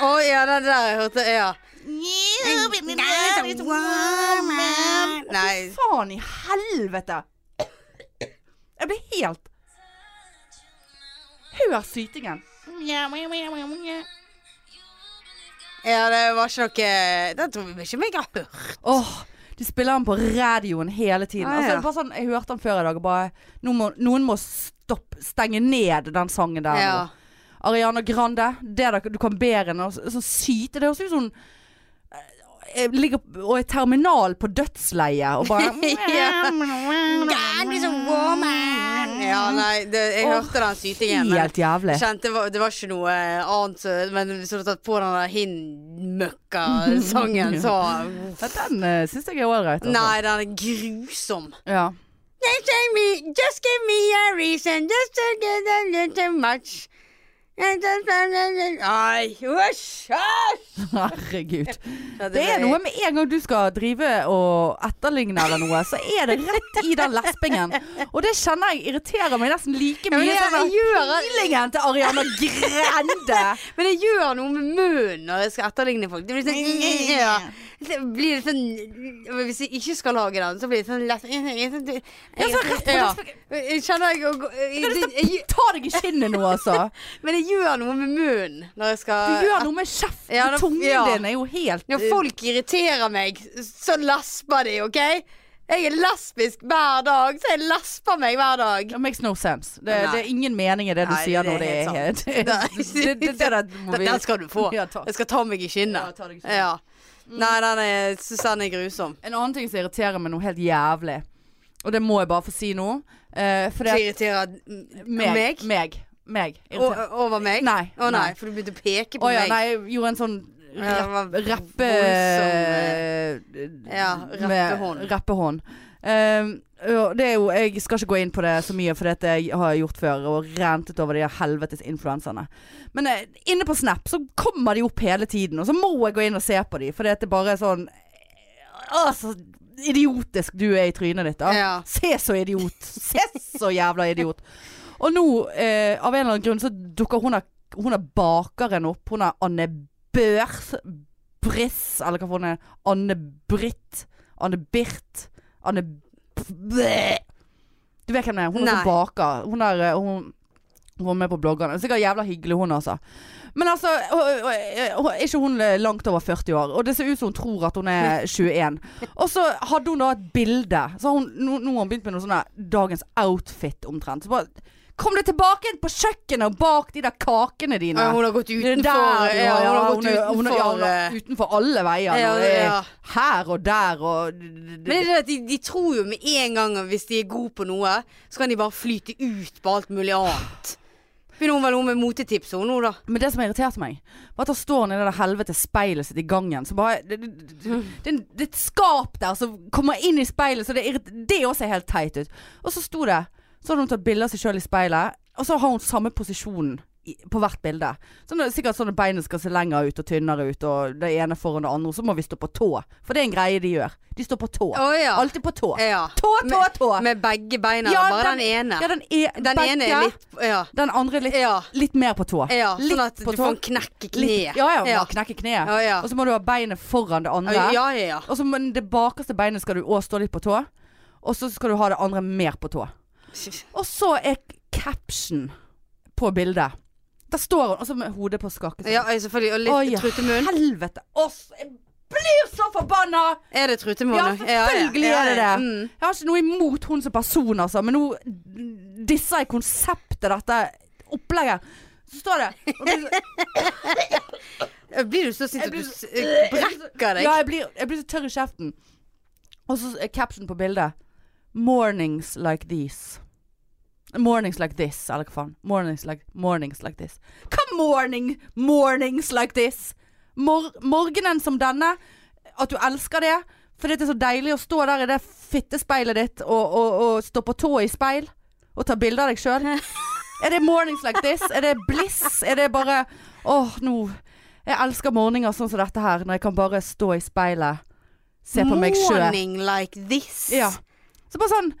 Å ja, den der jeg hørte. Ja. Nei.
Faen i helvete! Jeg blir helt Hør sytingen.
Ja, det var ikke noe Den tror jeg ikke jeg har hørt.
Åh, De spiller den på radioen hele tiden.
Ah,
altså,
ja.
det er bare sånn, jeg hørte den før i dag og bare nå må, Noen må stoppe, stenge ned den sangen der.
Ja.
nå. Ariana Grande, det der, du kan bedre enn å s- sånn syte. Det høres ut som hun eh, jeg ligger p- og er terminal på dødsleie og bare mm,
Ja, nei, det, jeg
liksom Åh,
hørte den sytingen. Men
Helt jævlig.
kjente, det, var, det var ikke noe annet så- Men hvis du hadde tatt på den der Hin-møkka-sangen, så
Ja, Den uh, syns jeg er ålreit. altså.
Nei, den er grusom.
Ja.
Just give me, just give me a reason just to get a little much. Nei, hysj! hysj!
Herregud.
Ja,
Det er
ble-
noe med en gang du skal drive og etterligne eller noe, så er det rett i den lespingen. Og det kjenner jeg irriterer meg nesten like
Ja, men
mye
jeg-
som den
jeg gjør-
healingen til Ariana Grande.
Men det gjør noe med munnen når jeg skal etterligne folk. Det blir sånn ja. Det blir litt sånn Hvis jeg ikke skal lage den, så blir det sånn lett
Ja, så rett på
Ja.
lespingen.
Jeg Kjenner jeg, og,
Jeg har lyst
jeg,
til å ta deg i skinnet nå, altså.
Men det gjør noe med munnen når jeg
Du
skal
gjør noe med kjeften.
Ja, da-
Tungen
ja.
din er jo helt
Når folk irriterer meg, så lesber de, OK? Jeg er lesbisk hver dag, så jeg lesber meg hver dag.
It makes no sense. Det,
Nei.
det er ingen mening i det du
Nei,
sier
det
nå.
er
Det er
helt
helt det, det, det, der må vi-
Den skal du få.
Ja, takk.
Jeg skal ta meg i
Ja,
kinnet.
ta deg i skinnet.
Ja.
Mm.
Nei, den er, jeg synes den er grusom.
En annen ting som irriterer meg noe helt jævlig, og det må jeg bare få si nå eh, For
Det
det
irriterer m-
meg.
meg?
Meg. meg
O-
irriterer-
Over meg?
Nei,
Å nei,
nei.
for du begynte å peke
Å
på
ja,
meg.
nei, jeg gjorde en sånn
Ja, det var
rapp- rappe...
voldsom, ja,
med-
rappehånd.
rappehånd. Ehm, og det er jo, jeg skal ikke gå inn på det så mye, for dette jeg har jeg gjort før. Og rentet over de her helvetes influenserne. Men eh, inne på Snap så kommer de opp hele tiden, og så må jeg gå inn og se på de For det er bare sånn eh, Å, så idiotisk du er i trynet ditt, da.
Ja.
Se så idiot. Se så jævla idiot. Og nå, eh, av en eller annen grunn, så dukker hun der, hun der bakeren opp. Hun er Anne Børs Briss, eller hva for hun er. Anne Britt. Anne Birt. Anne Bæ. Du vet hvem det er? Hun er
Nei.
som baker. Hun er eh, hun, hun var med på bloggerne. Sikkert jævla hyggelig, hun altså. Men altså, og- og- og- ikke hun er langt over 40 år. Og det ser ut som hun tror at hun er 21. Og så hadde hun da et bilde. Så har hun, nå, nå har hun begynt med noe sånn der dagens outfit omtrent. Så bare Kom deg tilbake inn på kjøkkenet og bak de der kakene dine!
Ja, hun har gått
Det er
utenfor.
der,
ja, hun har gått
er- hun er- ja,
utenfor.
hun er
eh,
utenfor alle veier.
Ja,
og det er
ja.
Her og der og d- d-
Men det er det at de, de tror jo med en gang at hvis de er gode på noe, så kan de bare flyte ut på alt mulig annet. Begynner hun vel noe med motetips hun nå, da?
Men det som irriterte meg, var at da står han i det der helvete speilet sitt i gangen. Så bare Det, det, det, det, det er et skap der som kommer inn i speilet, så det, irrit- det også ser helt teit ut. Og så sto det Så hadde hun tatt bilde av seg sjøl i speilet, og så har hun samme posisjonen i- på hvert bilde. Så det er sikkert sånn at beinet skal se lenger ut og tynnere ut, og det ene foran det andre. Så må vi stå på tå. For det er en greie de gjør. De står på tå.
Å ja.
Alltid på tå.
ja.
Tå, tå,
Med-
tå!
Med begge beina,
Ja,
eller bare
den-
den, ene.
Ja, den, er,
den ene er litt Ja.
Den andre er litt,
ja.
litt mer på tå.
ja.
Litt
Sånn at
på
du
tå.
får en knekk i
Litt-
kneet.
Ja, ja,
Ja.
bare knekke kneet.
Ja, ja.
Og så må du ha beinet foran det andre.
Ja, ja, ja.
Og så må det bakerste beinet skal du òg stå litt på tå. Og så skal du ha det andre mer på tå. Og så er caption på bildet. Der står hun, og så med hodet på skakke.
Ja, selvfølgelig. Og litt
Oi, ja.
trutemunn.
Helvete! Å, så- jeg blir så forbanna!
Er det trutemunn?
Ja,
da?
selvfølgelig er det det.
Mm.
Jeg har ikke noe imot hun som person, altså, men nå disser jeg konseptet, dette opplegget. Så står det og blir så-
Blir du så sint
Jeg
at du
blir
s-
så-
brekker deg?
Ja, jeg blir, jeg blir så tørr i kjeften. Og så er caption på bildet. Mornings like these. Mornings like this, eller hva faen. Mornings like, mornings like this. Hva morning? Mornings like this? Mor morgenen som denne. At du elsker det. For det er så deilig å stå der i det fittespeilet ditt og, og, og stå på tå i speil. Og ta bilder av deg sjøl. Er det mornings like this? Er det bliss? Er det bare Åh, nå Jeg elsker morgener sånn som dette her, når jeg kan bare stå i speilet, se på meg sjøl.
Morning like this.
Ja. Så bare sånn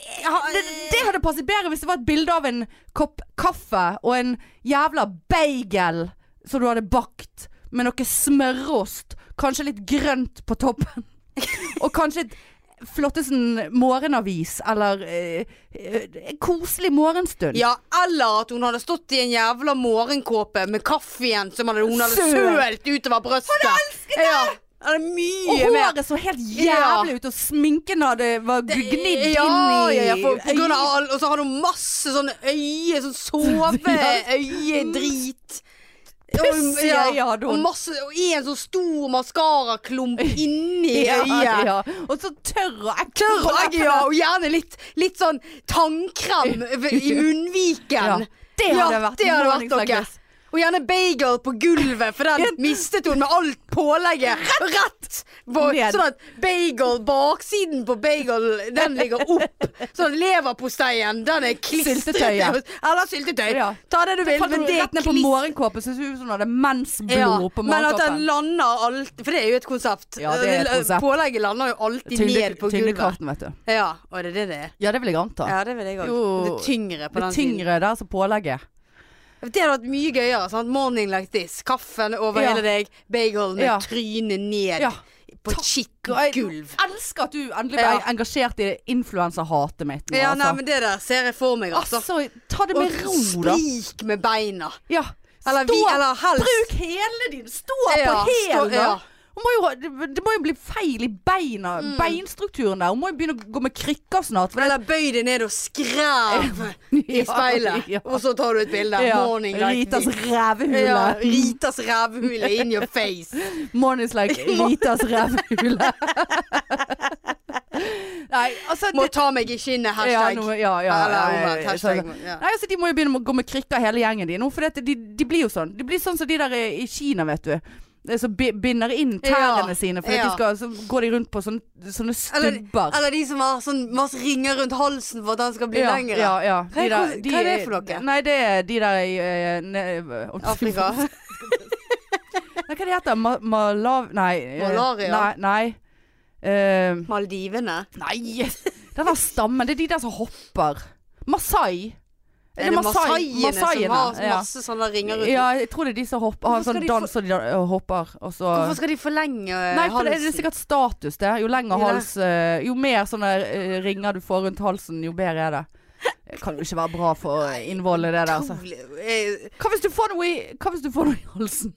jeg har- det, det hadde passet bedre hvis det var et bilde av en kopp kaffe og en jævla bagel som du hadde bakt med noe smørost, kanskje litt grønt på toppen. Og kanskje et flottesen morgenavis eller eh, eh, en koselig morgenstund.
Ja, eller at hun hadde stått i en jævla morgenkåpe med kaffen som hadde, hun hadde
Sølt.
sølt utover brøstet. Hun elsket det! Ja. Det er
Og
mye mer.
håret så helt jævlig ut, og sminken hadde var gnidd
ja,
inn i
ja, ja, for, på grunn av,
øyet.
all- Og så har hun masse sånne øye, sånn soveøyedrit.
Pussige øyne hadde hun.
Og masse, og en sånn stor maskaraklump inni
Ja,
øyet.
ja. Og så tørr og ekkel.
Tørr
på
og
leppene.
ja, og gjerne litt, litt sånn tannkrem i
Ja,
munnviken.
det
Ja,
hadde vært
det hadde vært
mornings like
noe.
this.
Og gjerne bagel på gulvet, for den mistet hun med alt pålegget rett på.
Ned.
Sånn at bagel, baksiden på bagel, den ligger opp. Sånn at leverposteien, den er klistret.
Syltetøyet.
Eller syltetøy.
Ja.
Ta det du vil,
Fant
men
du
det er
rett ned på
klistret.
morgenkåpen, så det ser ut som hun hadde mensblod på
men at den
morgenkåpen.
lander alt For det er jo et konsept. Eh,
Ja, det er et konsept.
Pålegget lander jo alltid ned på gulvet.
Tyngdekraften, vet du.
Ja, og det er det det er.
Ja, det vil jeg anta.
Ja, det vil jeg òg.
Jo.
Det tyngre på
det
den siden.
tyngre der som pålegget.
Det hadde vært mye gøyere. Sant? Morning like this. Kaffen over
Ja.
hele deg, bagel med
Ja.
trynet ned
Ja.
på
Takk.
et
Jeg
skittent gulv.
elsker at du endelig ble
Ja.
engasjert i influenserhatet mitt. nå,
Ja, nei,
altså.
men det der ser jeg for meg, altså.
altså, ta det med
Og
ro, da.
strik med beina.
Ja.
Eller, vi,
Stå-
eller helst
Bruk hele din. Stå
Ja,
på hælen.
stå- ja. Mm.
da. Hun må jo, ha- det, det må jo bli feil i beina. Beinstrukturen der. Hun må jo begynne å gå med krykker snart. For det,
Eller bøy deg ned og skræv i
Ja,
speilet,
ja.
og så tar du et bilde. Morning like
Ritas
this.
rævehule.
Ja, Ritas rævhule in your face.
Mornings like Ritas rævehule. Nei, altså
Må
det,
ta meg i kinnet,
ja,
hashtag.
noe- ja, ja,
Eller
ja,
omvendt,
ja,
hashtag.
sånn.
Ja.
Nei, altså De må jo begynne med å gå med krykker hele gjengen de nå. For dette, de, de blir jo sånn. De blir sånn som de der i i Kina, vet du. Eh, Som bi- binder inn tærne
Ja,
sine. For
ja.
de skal, så går de rundt på sånne, sånne
Eller,
stubber.
eller de som har sånn masse ringer rundt halsen for at den skal bli
ja,
lengre.
Ja, ja.
Hva er- hva- hva er det for noe?
Nei, det er de der i eh, ne- om-
Afrika.
Nei, hva det heter det? Ma malav... Nei. eh,
Malaria?
Nei. nei. Eh,
Maldivene.
Nei! Den der stammen, det er de der som hopper. Masai.
Er det masaiene, som har
ja.
masse sånne ringer rundt?
ja, jeg tror det er de som hopper. Har en
Hvorfor skal
sånn
de
dans som de da- øh, hopper, og så
Hvorfor skal de forlenge eh,
Nei, for det er det
halsen?
sikkert status, det. Jo lenger
Jo le-
hals øh, Jo mer sånne øh, ringer du får rundt halsen, jo bedre er det. Det kan jo ikke være bra for innvollet, det der. Altså.
Utrolig. Eh,
Hva hvis du får noe i, hva hvis du får noe i halsen?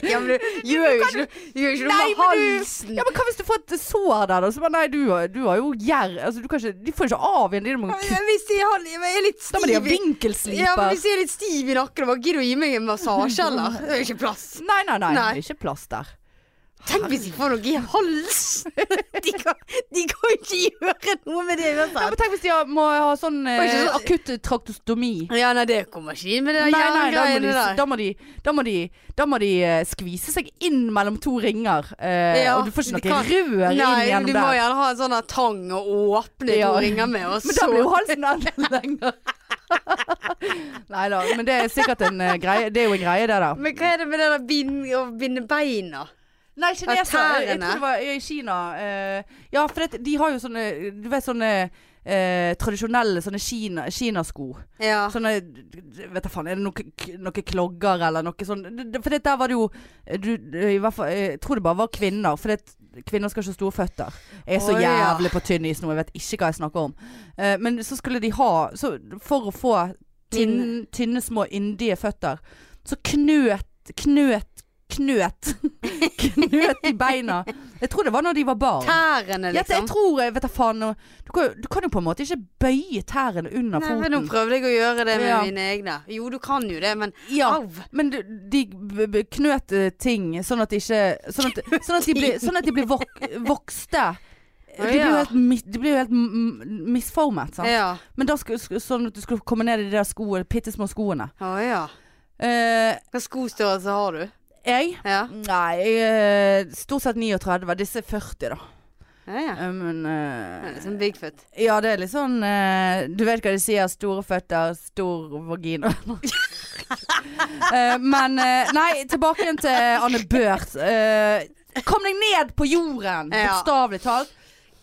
Ja, men du gjør jo ikke noe, gjør ikke noe
Nei,
med
men du-
halsen.
Ja, men Hva hvis du får et sår der, da? Så bare nei, du, har- du har jo gjerr altså, du kan ikke- De får jo ikke av igjen, de må
Ja,
kutte.
men Hvis de har- jeg er litt
Da må de ha
stiv i- ja, men
vinkelsliper.
hvis jeg er litt stiv i nakken, hva gidder du å gi meg en massasje, eller? Det er jo ikke plass.
Nei, nei, nei,
Nei.
det er ikke plass der.
Tenk hvis de får noe i halsen! De kan, de kan ikke gjøre noe med det
Ja,
uansett.
men tenk hvis de har, må ha sånn
Og
eh,
ikke sånn-
akutt traktostomi.
Ja, nei, det kommer ikke inn med det
Nei, nei, da må, de,
hjernegreiene der.
da, må de, da, må de, da må de eh, skvise seg inn mellom to ringer. Eh,
Ja,
og du får ikke
de
noe
kan-
rør inn
Nei,
gjennom
du må
der.
gjerne ha en sånn her tang og åpne
Ja.
to ringer med, og
Men da blir jo
så
halsen enda lenger. Nei da, men det er sikkert en eh, greie. Det er jo en greie, det der.
Men hva er det med det der bind, å binde beina?
Nei, kineser. Jeg, jeg
tærne.
tror det var i Kina. eh, ja, for det, de har jo sånne Du vet sånne eh, tradisjonelle sånne Kina, kinasko.
Ja.
Sånne Vet da faen, er det noe, k- noe klogger eller noe sånn Det- det- For det, der var det jo du, i hvert fall, Jeg tror det bare var kvinner. For det, kvinner skal ikke ha store føtter. Jeg er så
Å, ja.
jævlig på tynn is nå, jeg vet ikke hva jeg snakker om. Eh, men så skulle de ha så For å få tynne, tynne små yndige føtter, så knøt, knøt, knøt Knøt i beina. Jeg tror det var når de var barn.
Tærne,
Ja, jeg
liksom.
tror, jeg vet da faen nå- du kan, du kan jo på en måte ikke bøye tærne under
Nei, men nå
foten.
prøvde jeg å gjøre det med
Ja.
mine egne. Jo, du kan jo det, men
Ja,
au!
men du- de b- b- knøt eh, ting sånn at de ikke Sånn at, sånn at de blir, sånn at de blir vok vokste. De blir jo
ja.
helt, mis, de blir jo helt m- m- misformet. Sant?
Ja.
Men da skulle, skulle- sånn at du skulle komme ned i de der skoene, bitte små skoene.
Å ja.
Eh,
Hva skostørrelse har du?
jeg
Ja.
Nei, jeg, eh, stort sett 39. Disse er 40, da.
Ja, ja.
Eh, Men
Det er
eh,
liksom Bigfoot.
Ja, det er litt sånn eh, Du vet hva de sier. Store føtter, stor vagina. Eh, men eh, Nei, tilbake igjen til Anne Børth. Eh, kom deg ned på jorden,
Ja.
bokstavelig talt.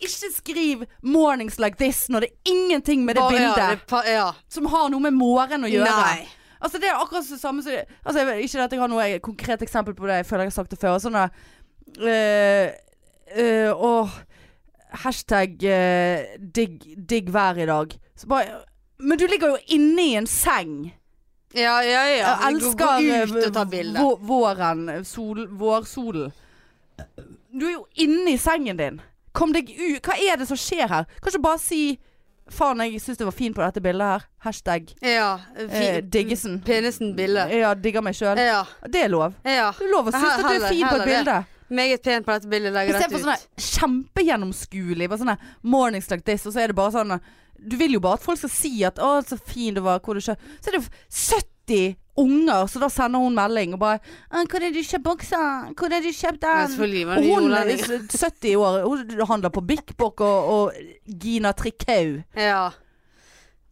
Ikke skriv 'mornings like this' når det er ingenting med det
Bare,
bildet
Ja, det pa ja.
som har noe med morgenen å gjøre.
Nei.
Altså Det er akkurat det samme som altså, jeg, vet- Ikke at jeg har noe konkret eksempel på det, jeg føler jeg har sagt det før. Sånn der øh, øh, åh, Hashtag øh, digg, digg vær i dag. Så bare, men du ligger jo inne i en seng.
Ja, ja, ja.
Jeg
Gå-
elsker
Gå ut og ta
øh,
bilde.
vå- våren, sol, vårsolen. Du er jo inne i sengen din. Kom deg ut. Hva er det som skjer her? Kan ikke bare si 'faen, jeg syns det var fint på dette bildet her'. Hashtag
Ja.
eh, Diggesen.
Penisen Bille.
Ja, digger meg sjøl.
Ja.
Det er lov.
ja.
Det er lov å synes at du er
Heller-
fin på et
heller det.
bilde.
Meget pen på dette bildet. Legger dette
Istedenfor
ut.
sånn her kjempegjennomskuelig. Bare sånn her mornings like this, og så er det bare sånn Du vil jo bare at folk skal si at 'Å, så fin du var', hvor du kjøper Så er det jo 70 unger, så da sender hun melding og bare «Å, 'Hvor er du kjøpt boksen? Hvor er du kjøpt
Ja,
den?'
selvfølgelig var
Og
det
hun er
jordlending.
70 år, hun handler på Bik Bok og, og Gina Trikau.
Ja.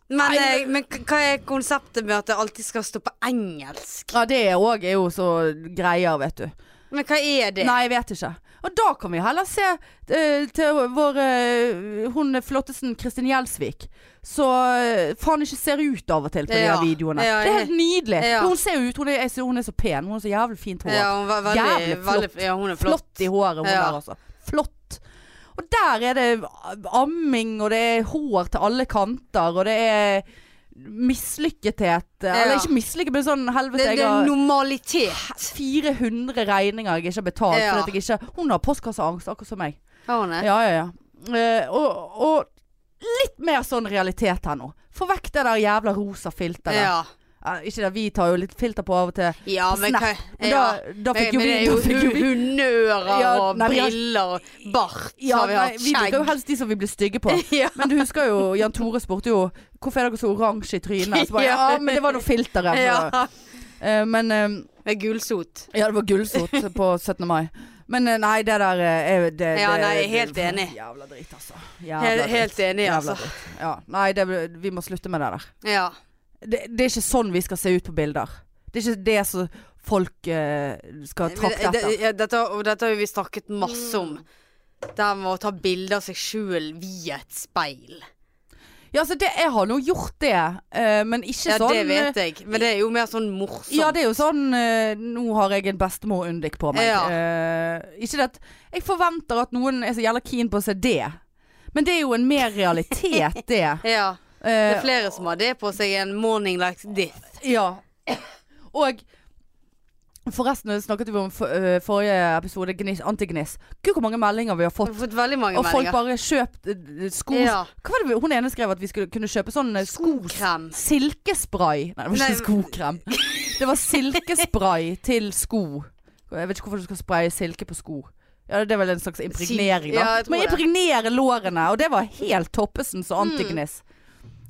Men,
Nei,
eh, men k- hva er konseptet med at det alltid skal stå på engelsk?
Ja, det òg er jo så greier, vet du.
Men hva er det?
Nei, jeg vet ikke. Og da kan vi heller se eh, til vår eh, Hun flottesten Kristin Gjelsvik. Så eh, faen ikke ser ut av og til på de
Ja.
her videoene.
Ja,
det er helt nydelig.
ja.
Men Hun ser jo ut. Hun er, jeg synes hun er så pen. Hun har så jævlig fint hår.
Ja, hun var veldig,
Jævlig flott.
Veldig, ja, hun er
flott.
flott.
i håret hun
Ja.
der, altså. Flott. Og der er det amming, og det er hår til alle kanter, og det er mislykkethet. Eller ikke mislykket, men sånn
Det,
helvete.
det
jeg har-
er normalitet.
400 regninger jeg ikke har betalt
Ja.
fordi at jeg ikke Hun har postkasseangst, akkurat som meg.
Har hun det?
Ja, ja, ja. Eh, og, og litt mer sånn realitet her nå. Få vekk det der jævla rosa filteret.
Ja.
Eh, ikke det, vi tar jo litt filter på av og til.
ja, men
Snap.
hva
Men
ja.
da, da fikk
Men-
jo
men
vi
det
da
er jo
fikk jo
hu-
vi-
Hundører
Ja,
og
nei, vi har-
briller og bart
ja,
har vi
nei,
hatt.
vi liker jo
Skjegg.
helst de som vi blir stygge på.
Ja.
Men du husker jo, Jan Tore spurte jo hvorfor er dere så oransje i trynet. Så bare, ja,
Ja.
men det var noe filteret.
Ja.
så- Eh, men eh,
Med gulsot.
Ja, det var gulsot på 17. mai. Men eh, nei, det der eh, er det,
Ja,
det,
nei, jeg er
det-
helt enig.
Jævla drit, altså.
Helt, helt enig,
Jævla
altså.
dritt. Ja. Nei, det, vi må slutte med det der.
Ja.
Det, det er ikke sånn vi skal se ut på bilder. Det er ikke det som folk eh, skal trakte
Men, eh,
etter.
det- ja, dette, og dette har jo vi snakket masse om.
Mm.
Det her med å ta bilde av seg sjøl via et speil.
Ja, altså, det, jeg har nå gjort det, eh, men ikke
Ja,
sånn
det vet jeg. Men det er jo mer sånn morsomt.
Ja, det er jo sånn eh, Nå har jeg en bestemor undik på meg.
Ja.
Eh, ikke det at Jeg forventer at noen er så jævla keen på å se det. Men det er jo en mer realitet, det.
Ja. Det
Eh,
er flere som har det på seg en morning like this.
Ja. Og forresten det snakket vi om for, øh, forrige episode, Gniss, Antigniss. Gud, hvor mange meldinger vi har
Jeg
fått.
har fått veldig mange
Og folk
meldinger.
bare kjøpt øh, sko
Ja.
Hva var det vi- hun ene skrev at vi skulle kunne kjøpe sånn øh, sko
Skokrem.
Silkespray. Nei, det var ikke
Nei.
skokrem. Det var silkespray til sko. Jeg vet ikke hvorfor du skal spraye silke på sko. Ja, Det er vel en slags impregnering, da.
Ja, jeg tror
Men
det. Mm.
impregnere lårene. Og det var helt toppesen så antigniss.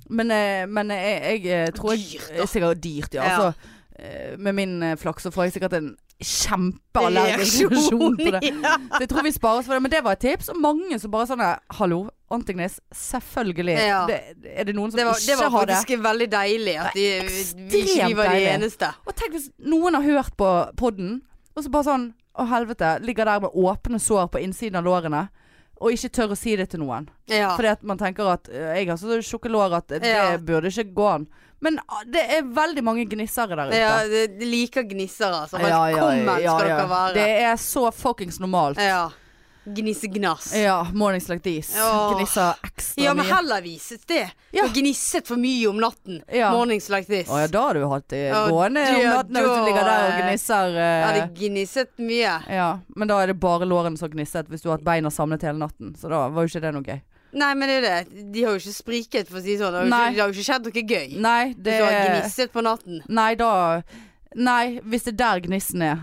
Men, eh, men eh, jeg, jeg eh, tror jeg
Dyrt, da.
det er Sikkert dyrt, ja.
Ja.
Altså, eh, med min eh, flaks så får jeg sikkert en kjempeallergisk reaksjon på det.
Ja.
Så jeg tror vi sparer oss for det. Men det var et tips. Og mange som bare sånn Hallo, Antignis. Selvfølgelig.
Ja.
Det, er det noen som
Det var, det
ikke
var
har det?
faktisk veldig deilig at de,
ekstremt
vi ikke vi var de
deilig.
eneste.
Og tenk hvis noen har hørt på podden, og så bare sånn Å, helvete. Ligger der med åpne sår på innsiden av lårene. Og ikke tør å si det til noen.
Ja.
Fordi at man tenker at «Øh, jeg har så tjukke lår at det
Ja.
burde ikke gå an. Men ah, det er veldig mange gnissere der ute.
ja, de de liker altså. gnissere. Så
Ja, ja,
velkommen
ja,
skal
ja.
dere være.
Det er så fuckings normalt.
Ja. Gnissegnass. Ja.
Ja, mornings like these.
Åh.
Gnisser ekstra
men
mye.
heller vises det.
Ja.
Og gnisset for mye om natten.
Ja.
Mornings like this.
Å ja, da har du hatt det
Ja,
gående om
ja,
natten hvis
da,
du ligger der og
eh,
gnisser.
Jeg
eh,
hadde gnisset mye.
ja, men da er det bare lårene som har gnisset hvis du har hatt beina samlet hele natten. Så da var jo ikke det noe gøy.
Nei, men det er det. De har jo ikke spriket, for å si det sånn. Det har jo
Nei.
ikke, det har jo ikke skjedd noe gøy.
Nei,
Du
det
har gnisset på natten.
Nei, da Nei, hvis det er der gnissen er.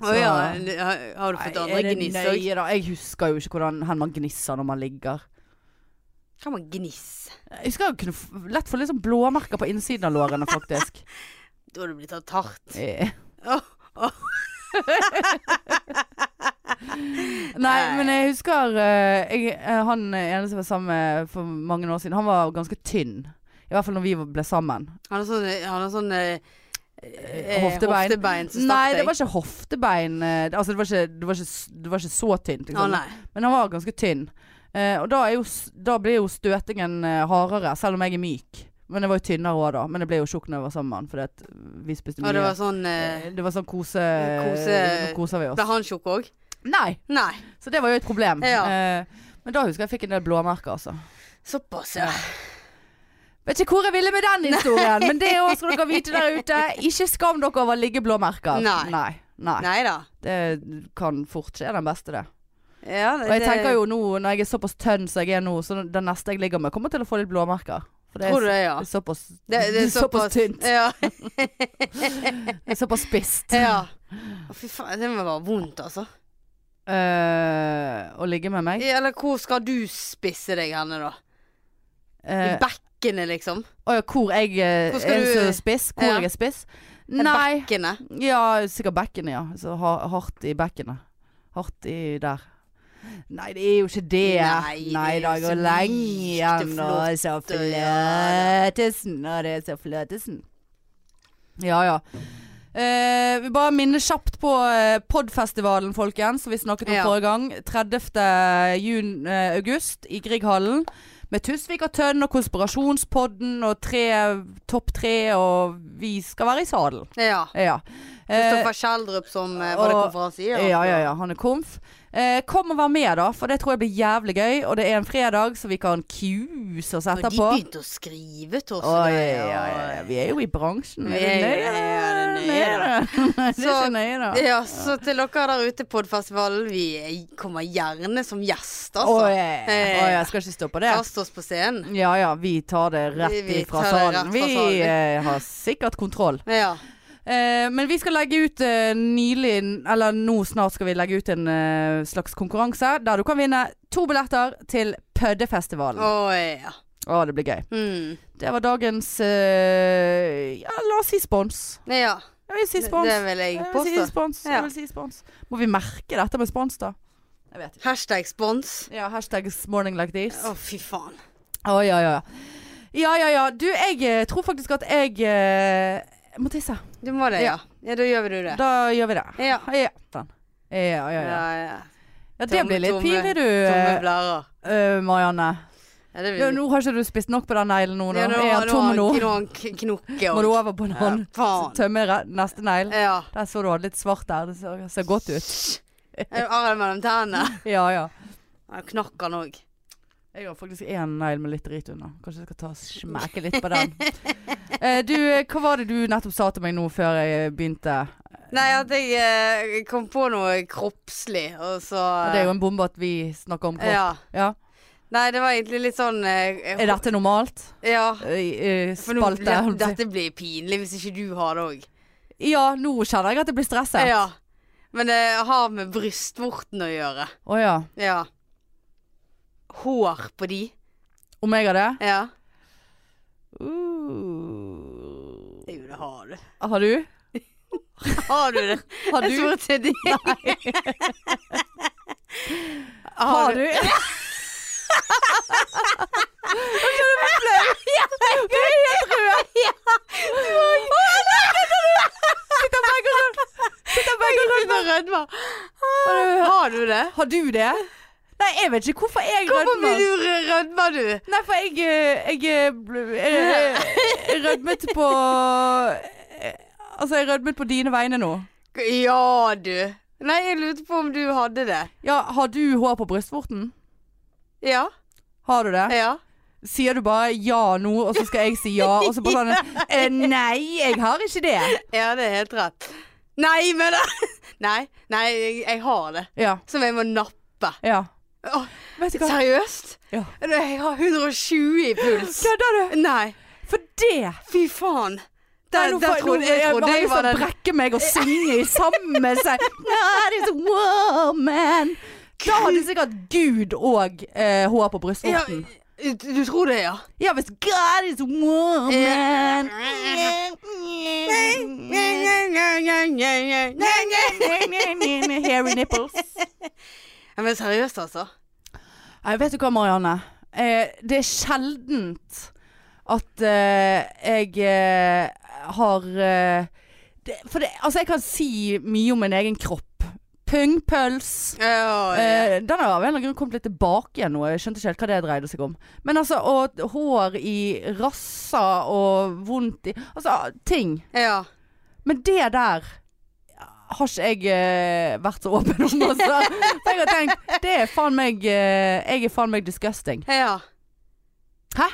Å
Så-
ja. har- Har du
Nei,
fått
er
andre
Mm, det
gniss òg?
nøye, da? Jeg husker jo ikke hvordan hen man gnisser når man ligger.
Kan man gnisse?
Jeg husker jeg kunne f- lett få litt sånn blåmerker på innsiden av lårene, faktisk.
Da hadde du blitt tatt hardt.
Eh.
Åh, åh.
Nei,
Nei.
men jeg husker eh, jeg, eh, Han ene som var sammen med for mange år siden, han var ganske tynn. I hvert fall når vi ble sammen.
Han har sånn, han har sånn eh, eh,
hoftebein.
hoftebein som
Nei,
stakk
det
deg.
var ikke hoftebein. eh, Altså, det var ikke, det var ikke, s- det var ikke så tynt.
Å,
Liksom.
nei.
Men han var ganske tynn. Eh, og da, er jo, s- da blir jo støtingen eh, hardere, selv om jeg er myk. Men jeg var jo tynnere òg da. Men jeg ble jo tjukk når jeg var sammen med han, fordi at eh, vi spiste mye.
Og det var sånn eh,
Eh, det var sånn kose...
Kose-
Nå koser vi
Ble
oss.
han tjukk òg?
Nei!
Nei.
Så det var jo et problem.
Ja.
Eh, men da husker jeg jeg fikk en del blåmerker, altså.
Såpass, ja.
Vet ikke hvor jeg ville med den historien, men det òg skal dere vite der ute. Ikke skam dere over liggeblåmerker.
Nei.
Nei. Nei.
Nei da.
Det kan fort skje den beste, det.
Ja, det,
Og jeg tenker jo nå, når jeg er såpass tønn som jeg er nå, så den neste jeg ligger med, kommer til å få litt blåmerker. For det
Tror du
er
det, ja?
s- såpass,
Det, det er såpass
tynt.
Ja.
Det er såpass spisst.
ja. Å, Fy faen, det må være vondt, altså.
Eh, å ligge med meg.
Eller hvor skal du spisse deg henne, da? I
Eh,
bekkenet, liksom?
Å ja, hvor jeg eh,
Hvor skal
er
du-
så spiss? Hvor
Ja.
jeg er spiss?
Er
Nei.
Bekkenet?
Ja, sikkert bekkenet, ja. Så har- hardt i bekkenet. Hardt i der. Nei, det er jo ikke det.
Nei, det er
da,
jo
går
så
lenge
mykt og
igjen. Og det er så
flott, og ja
fløtesen, og det er så fløtesen. Ja, ja. Eh, vi bare minner kjapt på eh, Podfestivalen, folkens, som vi snakket om
Ja.
forrige gang. 30. Jun, eh, august i Grieghallen. Med Tusvik og Tønn og Konspirasjonspodden og tre, Topp tre, og vi skal være i sadel.
Ja.
Ja. Eh,
Kristoffer Kjeldrup som eh, var det
og-
konferansier?
ja, ja, ja. Han er komf. Eh, kom og vær med, da, for det tror jeg blir jævlig gøy. Og det er en fredag, så vi kan kuse oss
Og de
etterpå.
begynte å skrive til oss.
Oi,
og
oi,
greier,
oi,
og-
Vi er jo i bransjen.
Vi
Er det
er-
nøye,
ja, det er nøye,
da? Det er
Så-
ikke nøye, da.
Ja, så til dere der ute på festivalen, vi kommer gjerne som gjest,
Å
altså.
ja,
Eh,
å ja, skal ikke stoppe det.
Kast oss på scenen.
Ja ja, vi tar det rett
Vi- vi
ifra
tar det rett
salen.
fra
Vi
salen.
eh, har sikkert kontroll.
Ja.
Eh, men vi skal legge ut eh, nylig Eller nå snart skal vi legge ut en eh, slags konkurranse der du kan vinne to billetter til Pøddefestivalen. Å,
Å ja.
det blir gøy.
Mm.
Det var dagens eh, Ja, la oss si spons.
ja.
Jeg vil si
Det,
spons.
det vil jeg
Jeg vil si
påstå.
spons.
Ja.
Jeg vil si spons. Må vi merke dette med spons, da? Jeg vet ikke.
Hashtag spons.
Ja, hashtags morning like this.
Å, fy faen.
Å, ja, ja, ja. Ja, ja, ja. Du, jeg eh, tror faktisk at jeg eh, må tisse.
Du må det, ja. Ja, da gjør vi det.
Da gjør vi det.
Ja.
Ja, den. ja, ja, ja.
ja.
Ja, det
Tomme-
blir litt
tomme-
pinlig du,
Tomme
eh,
blærer.
eh, Marianne.
Ja, det vil
Ja, nå har ikke du spist nok på den neglen nå, da.
Ja,
er han tom nå?
Nå har han kn- knokket
Må du
og
over på en annen?
Ja, faen. Eh.
Tømme re- neste negl.
Ja.
Der så du hadde litt svart der. Det ser, ser godt ut.
Jeg har arren mellom tennene.
Ja, ja.
Han knakk han òg.
Jeg har faktisk én negl med litt drit under. Kanskje jeg skal ta og smeke litt på den. Eh, du, eh, hva var det du nettopp sa til meg nå før jeg begynte?
Nei, at jeg eh, kom på noe kroppslig, og så
Det er jo en bombe at vi snakker om kropp.
Ja.
Ja.
Nei, det var egentlig litt sånn eh,
Er dette normalt?
Ja.
Eh, eh,
For nå,
Spalte?
det, dette blir pinlig hvis ikke du har det òg.
Ja, nå kjenner jeg at jeg blir stresset. Å
Ja. Men det har med brystvorten å gjøre.
ja.
Ja. Hår på de.
Om jeg har det?
Ja.
Uh.
Jo, det har du.
Har du?
Har du det?
Har
Jeg
du?
tror ikke det.
Har du? Jeg skjønner du ble flau. Du er helt rød. Sitter begge og sånn. Sitter begge og sånn.
Begynner å rødme.
Har du-
Har du det?
Har du det? Nei, jeg vet ikke hvorfor jeg
Hvorfor
rødmer.
blir du rødmer du?
Nei, for jeg, eh, jeg, eh, bl- eh, jeg rødmet på eh, Altså, jeg rødmet på dine vegne nå.
Ja, du. Nei, jeg lurte på om du hadde det.
Ja, har du hår på brystvorten?
Ja.
Har du det?
Ja.
Sier du bare ja nå, og så skal jeg si ja, og så bare sånn eh, Nei, jeg har ikke det.
Ja, det er helt rett. Nei, men Nei, nei, jeg, jeg har det.
Ja.
Som jeg må nappe.
ja.
Åh,
Vet du hva?
seriøst?
Ja.
Jeg har 120 i puls.
Kødder du?
Nei,
For det!
fy faen.
Nei,
Der,
nå
der
får-
trodde
nå-
jeg,
jeg
trodde
har
jeg
lyst til
var
å
den
brekke meg og synge i sammen seg. God is a woman. Da hadde sikkert Gud og eh, hår på
ja,
brystvorten.
Du tror det, ja?
Ja, hvis God is a woman Hairy nipples.
Ja, men seriøst, altså.
Nei, vet du hva, Marianne? Eh, det er sjeldent at eh, jeg eh, har eh, det, For det, altså, jeg kan si mye om min egen kropp. Pungpøls.
Ja, ja.
Eh, den har av en eller annen grunn kommet litt tilbake igjen nå. Jeg skjønte ikke helt hva det dreide seg om. Men altså, og hår i rassa og vondt i Altså, ting.
ja.
Men det der har ikke jeg eh, vært så åpen om, altså. For jeg har tenkt Det er faen meg eh, Jeg er faen meg disgusting.
ja.
Hæ?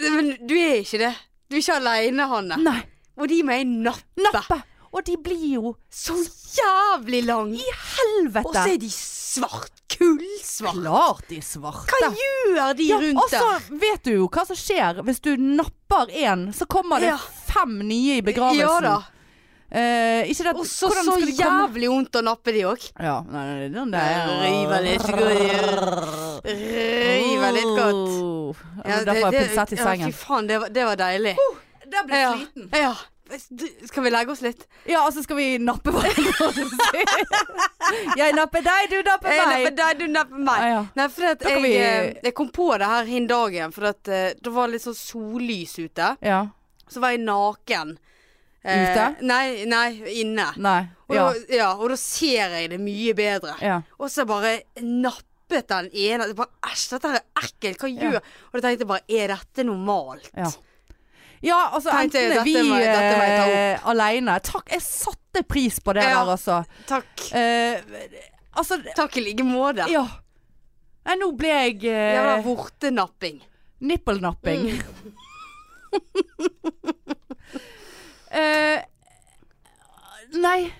Men du er ikke det. Du er ikke aleine, Hanne.
Nei.
Og de med ei nappe.
Nappe! Og de blir jo
Så jævlig lang. Og
helvete
så er de svart. Kullsvart.
Klart de svarte.
Hva gjør de
Ja,
rundt
og så
der?
vet du jo hva som skjer hvis du napper én, så kommer det
Ja.
fem nye i begravelsen.
Ja da.
Eh, ikke det at
Og så
hvordan
så
skal de komme-
jævlig vondt å nappe de òg.
Ja, nei, nei, den
River litt, så går de- River litt godt.
Oh.
Ja,
Derfor har jeg
det-
pinsett i
ja,
sengen.
Fy faen, det var, det var deilig.
Der ble
Ja. ja. Du- Skal vi legge oss litt?
Ja, altså skal vi nappe hverandre? jeg napper deg, du napper meg.
Jeg napper Eh, deg, du napper meg.
Ah, ja.
Nei, for at
Da kan
jeg,
vi-
eh, jeg kom på det her hin dagen, for at eh, det var litt sånn sollys ute.
Ja.
Så var jeg naken. Eh,
Ute?
Nei, nei, inne.
Nei.
Og,
Ja.
Da, ja, og da ser jeg det mye bedre.
ja.
Og så bare nappet den ene. Jeg Bare, Æsj, dette her er ekkelt. Hva gjør Og da tenkte jeg bare, er dette normalt?
Ja. Ja, altså
Tenkte jeg,
enten er
dette
vi
må- dette må jeg ta
eh, aleine Takk, jeg satte pris på det
Ja.
der, altså.
Takk.
Eh, altså
Takk i like måte.
Ja. Nei, nå ble jeg
Jævla
eh,
vortenapping.
nippelnapping.
Mm.
eh, nei.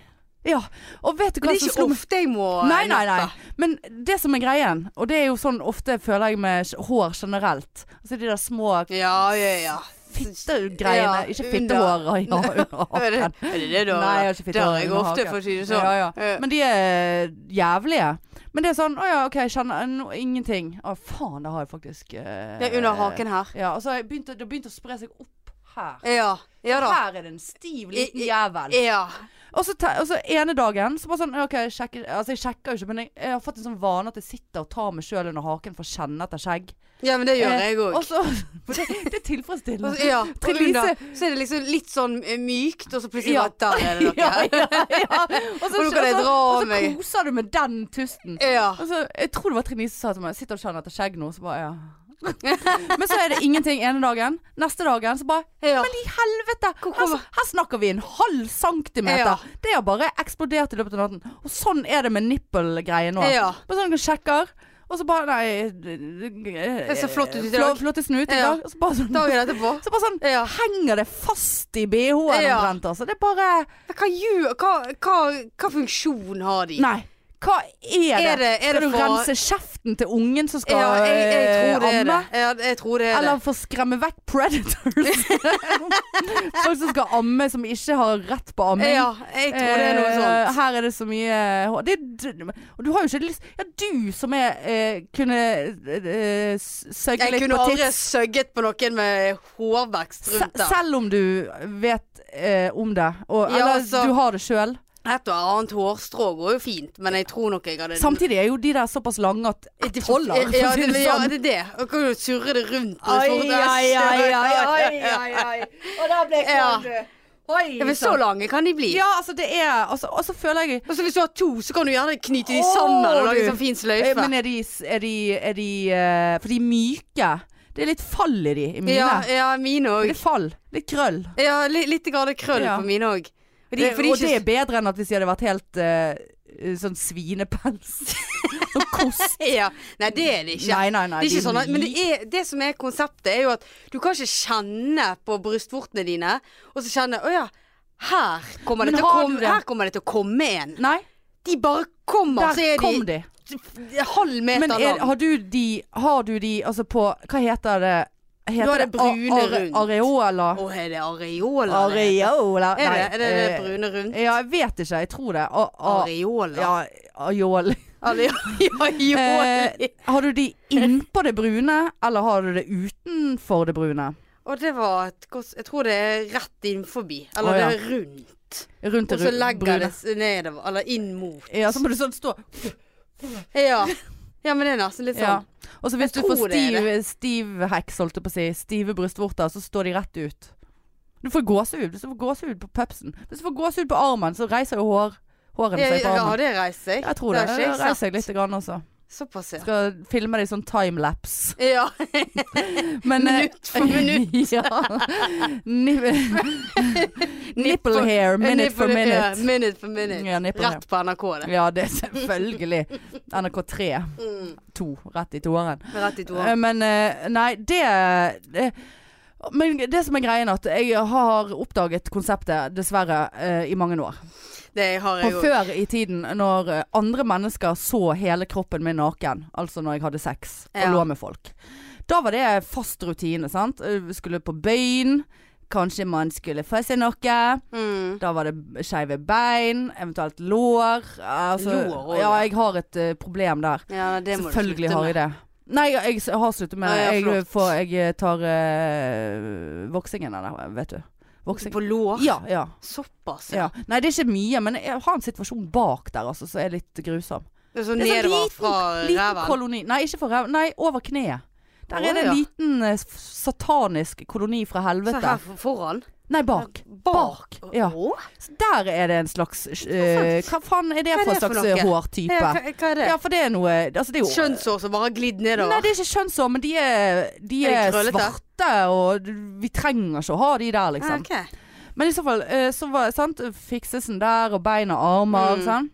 Ja. Og vet du
Men
hva
det er
som
ikke
slo meg
ofte jeg må eh,
Nei, nei, nei.
nappe.
Men det som er greien, og det er jo sånn ofte føler jeg med sj- hår generelt Altså de der små
Ja, ja, ja.
fittegreiene.
Ja,
Ikke
under.
fittehår ja, under
Er det
haken.
er det, det du har?
Nei, jeg har ikke
Det har
fittehår
jeg
under
ofte,
haken.
for å si det sånn.
Ja, ja.
Eh,
Men de er jævlige. Men det er sånn Å ja, OK, jeg kjenner no, ingenting. Å faen, det har jeg faktisk eh,
Det er under haken her.
Ja, og så har jeg begynt, å- det har begynt å spre seg opp her.
Ja. Ja da.
Her er det en stiv liten
I- i-
jævel.
Ja.
Og så, te- og så ene dagen så bare sånn OK, jeg sjekker Altså, jeg sjekker jo ikke, men jeg, jeg har fått en sånn vane at jeg sitter og tar meg sjøl under haken for å kjenne etter skjegg.
ja, men det gjør
Eh,
jeg òg.
Og så for Det, det er tilfredsstillende.
Ja, og
Trine
under,
Lise-
så er det liksom litt sånn eh, mykt, og så plutselig
Ja.
bare der er det noe.
Ja, ja, ja. Og så,
Og nå kan jeg
og så,
dra
og
av
så
meg.
koser du med den tusten.
Ja.
Altså, jeg tror det var Trine Lise som sa til meg Sitter og kjenner etter skjegg nå, så bare ja. Men så er det ingenting ene dagen. Neste dagen så bare
Ja.
Men i helvete! Her,
kommer-
her snakker vi en halv centimeter!
Ja.
Det har bare eksplodert i løpet av natten. Og sånn er det med nippelgreier nå.
Ja.
Bare sånn du sjekker, og så bare Nei eh, Det
ser flott ut i dag.
Flottesen ut i
Ja.
dag. Og så bare sånn,
Dagen etterpå.
så bare sånn
Ja.
henger det fast i BH-en
Ja.
omtrent, altså. Det er bare
Men Hva, gjør, hva, hva, hva funksjon har de?
Nei. Hva er det?
Er det, er
skal
det
du
for
rense kjeften til ungen som skal
ja, jeg, jeg tror det
eh,
er det.
amme?
Ja, jeg tror det er
Eller for å skremme vekk predators. Folk som skal amme, som ikke har rett på
det.
amming.
Ja, jeg tror det er noe
Eh,
sånt.
Her er det så mye hår. det, du, Og du har jo ikke lyst Ja, du som er eh, kunne eh, s- søke
Jeg
litt
kunne
på
aldri
tids
søgget på noen med hårvekst
se-
rundt der.
Selv om du vet eh, om det, og,
Ja,
eller
altså-
du har det sjøl.
Et og annet hårstrå går jo fint, men jeg tror nok jeg hadde
Samtidig er jo de der såpass lange at
Det-
ett holder, for
Ja,
å si
det,
det
ja,
sånn.
det er det. Og kan jo surre det rundt. og
Oi,
surre-
oi, oi, oi, oi, oi. Og da ble jeg
Ja.
kald. Oi, sånn.
Ja, men så lange kan de bli.
Ja, altså det er Og så- og så føler jeg
Og Sånn. så hvis du har to, så kan du gjerne knyte de
Åh,
sammen og lage
du.
en sånn fin
Eh,
sløyfe.
Men er de, s- er de, er de eh, For de er myke. Det er litt fall i de, i eh, mine.
ja, ja, mine òg.
Litt fall. Litt krøll.
Ja, li, litt grann krøll
Ja.
på mine òg. Og de-
Det,
for de er
og det
ikke-
er bedre enn at hvis de hadde vært helt eh, sånn svinepels. sånn kost.
ja. Nei, det er det ikke.
Nei, nei, nei.
det er
de
ikke sånn at, men det,
myke.
er, det som er konseptet, er jo at du kan ikke kjenne på brystvortene dine, og så kjenne Å ja, her kommer, det
Men
til å
har du
komme,
det?
her kommer det til å komme en.
Nei,
De bare kommer,
der
så er
kom
de,
de.
halv meter
Men er,
lang.
har du de Har du de altså på Hva heter det? Heter
har det brune
a- are-
rundt.
Areola?
Å, er det areola? det?
Areola?
Er det, er det, det
eh,
brune rundt?
Ja, jeg vet ikke. Jeg tror det. A, a,
Areola?
ja, areola.
Areola.
Eh, har du de innpå det brune, eller har du det utenfor det brune?
Og det var et godt Jeg tror det er rett inn forbi. Eller
Å, ja.
det er rundt.
Rundt det
Og så
ru-
legger det
brune.
s- nedover. Eller inn mot.
Ja, så må du sånn stå.
Ja. ja, men det er nesten litt
Ja.
sånn.
Og så hvis du
Jeg
får
tror det er
stiv, stiv heks, holdt jeg på å si, stive brystvorter, så står de rett ut. Du får gåsehud. Hvis du får gåsehud på pupsen, hvis du får gåsehud på armen, så reiser jo hår, hårene
Ja,
seg på
ja,
armen.
det reiser jeg.
Jeg tror det.
har
Det
ikke jeg
reiser jeg
sett.
litt grann også.
Såpass, ja.
Skal filme det i sånn timelapse.
Ja.
Men, eh,
Minutt for minutt.
ja. Ni- Nipple hair, minute for
Nipple- ja,
minute.
minute for minute.
Ja, nipple hair.
Rett på NRK, det.
Ja, det er selvfølgelig. NRK3. To. Rett i toeren.
Mm. Rett i to
Eh, Men eh, nei, det, det Men det som er greien, er at jeg har oppdaget konseptet, dessverre, eh, i mange år.
Det har jeg
Og
òg.
før i tiden, når eh, andre mennesker så hele kroppen min naken, altså når jeg hadde sex og
Ja.
lå med folk, da var det fast rutine, sant. Eh, Vi skulle på bøyen. Kanskje man skulle få seg noe.
Mm.
Da var det skeive bein, eventuelt lår. Altså,
Lår også,
ja,
ja.
jeg har et eh, problem der.
Ja, det må du
Selvfølgelig
slutte
har
med.
jeg det. Nei, jeg, jeg s- har sluttet med
Ja, ja,
det. jeg,
flott.
får, jeg eh, tar eh, voksingen av det, vet du. Voksing.
På lår?
Ja, ja,
Såpass, ja.
ja. Nei, det er ikke mye, men jeg har en situasjon bak der altså, som er litt grusom.
Det er sånn
Det er sånn
nedover
liten-
fra
Liten
ræven.
koloni Nei, ikke for ræven. Nei, over kneet. Der
Å,
er det en
ja.
liten eh, s- satanisk koloni fra
Så
helvete.
her for- foran?
Nei, bak. Bak, ja.
Å?
Så der er det en slags eh, Hva faen er det
Hva er
for en
det for
slags
noe?
eh,
Ja,
hårtype?
hva, hva er det?
Ja, for det er noe altså, det er jo,
Skjønnshår som bare har glidd
Nei,
nedover?
det er ikke kjønnshår, men de er, de
Er de
er,
krøllete?
svarte, og vi trenger ikke å ha de der,
Ah,
liksom.
ok.
Men i så fall, eh, så var sant, fiksesen der, og bein og armer,
Mm.
sånn.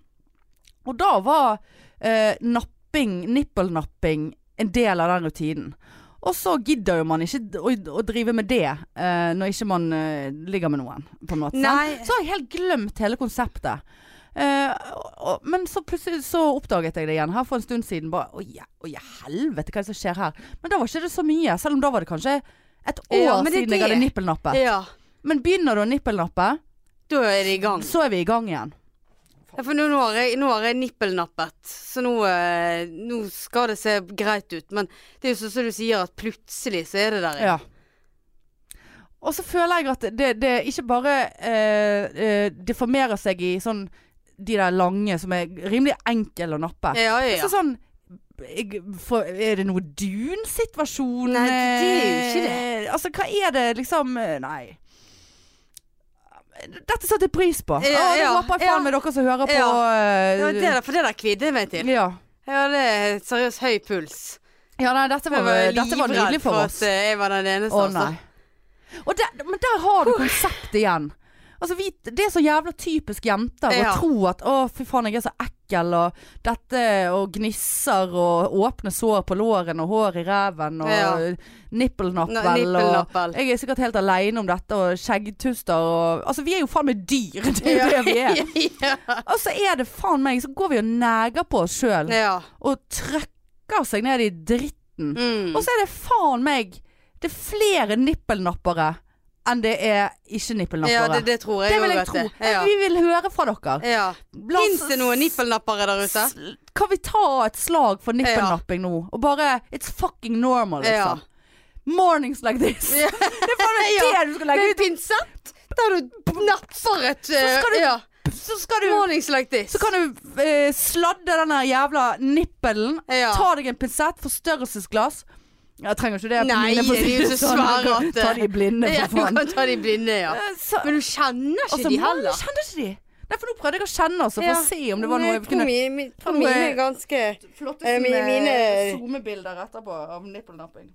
Og da var eh, napping, nippelnapping, en del av den rutinen. Og så gidder jo man ikke å, å drive med det eh, når ikke man eh, ligger med noen, på en måte. sant?
Nei.
Så har jeg helt glemt hele konseptet. Eh, og- og, men så plutselig så oppdaget jeg det igjen her for en stund siden. Bare, Oi, ja, oi, helvete, hva er det som skjer her? Men da var ikke det så mye. Selv om da var det kanskje et år
Ja, men det er
siden jeg hadde
det.
nippelnappet.
Ja.
Men begynner du å nippelnappe,
Da er det i gang.
så er vi i gang igjen.
Ja, for nå, nå, har jeg, nå har jeg nippelnappet, så nå, eh, nå skal det se greit ut. Men det er jo sånn som du sier, at plutselig så er det der.
Ja. Og så føler jeg at det, det ikke bare eh, eh, deformerer seg i sånn de der lange som er rimelig enkle å nappe.
ja, ja. ja.
Så sånn jeg, for, Er det noe dun-situasjon?
Nei, det er jo ikke
Eh, Altså, hva er det liksom eh, Nei. Dette setter jeg pris på.
Ja,
Å, det
ja,
håper jeg
ja.
faen meg dere som hører på.
Ja, det
eh,
der, for det der kvidde jeg meg til.
ja.
Ja, det er seriøst høy puls.
ja, nei, dette var, dette var
livredd
nydelig for oss.
at eh, jeg var den eneste.
Å
altså.
nei. Og der, men der har du konseptet igjen. Altså, vi, det er så jævla typisk jenter
Ja.
å tro at å, fy faen, jeg er så ekkel, og dette, og gnisser, og åpne sår på lårene, og hår i reven, og
Ja. Nå,
nippelnappel, og
nippelnappel.
jeg er sikkert helt aleine om dette, og skjeggtuster og Altså, vi er jo faen meg dyr, det er jo det vi er.
ja.
Og så er det faen meg, så går vi og neger på oss sjøl,
ja.
og trøkker seg ned i dritten.
Mm.
Og så er det faen meg Det er flere nippelnappere enn det er ikke-nippelnappere.
ja, det, det tror jeg
Det vil
også,
jeg tro.
vet du. Ja.
Vi vil høre fra dere.
Ja.
La oss-
Fins det noen nippelnappere der ute?
s- Kan vi ta et slag for nippelnapping nå? Og bare It's fucking normal, liksom. Mornings like this.
Ja.
Det er faen meg
Ja.
det du skal legge
Med
ut.
pinsett? Der du napper et
skal du-
eh, ja.
Så, skal du,
Mornings like this.
så kan du eh, sladde den der jævla nippelen.
Ja.
Ta deg en pinsett, forstørrelsesglass. Jeg trenger ikke det. på
Nei,
mine, for å si
de er jo
det
så
sånn.
svære
Du kan
at- eh,
Ta de blinde,
ja,
for
du
faen.
kan ta de blinde, ja.
Eh, Så,
Men du kjenner ikke
altså,
de
nei,
heller.
Jeg kjenner ikke de. Nei, for nå prøvde jeg å kjenne altså, for
Ja.
å se om det var noe
Jeg
jeg
tror
kunne
mi- mi- tror
Kan
mine
vi-
er ganske
flotte
Eh, mi-
sånne
mine-
zoomebilder etterpå av nippelnapping.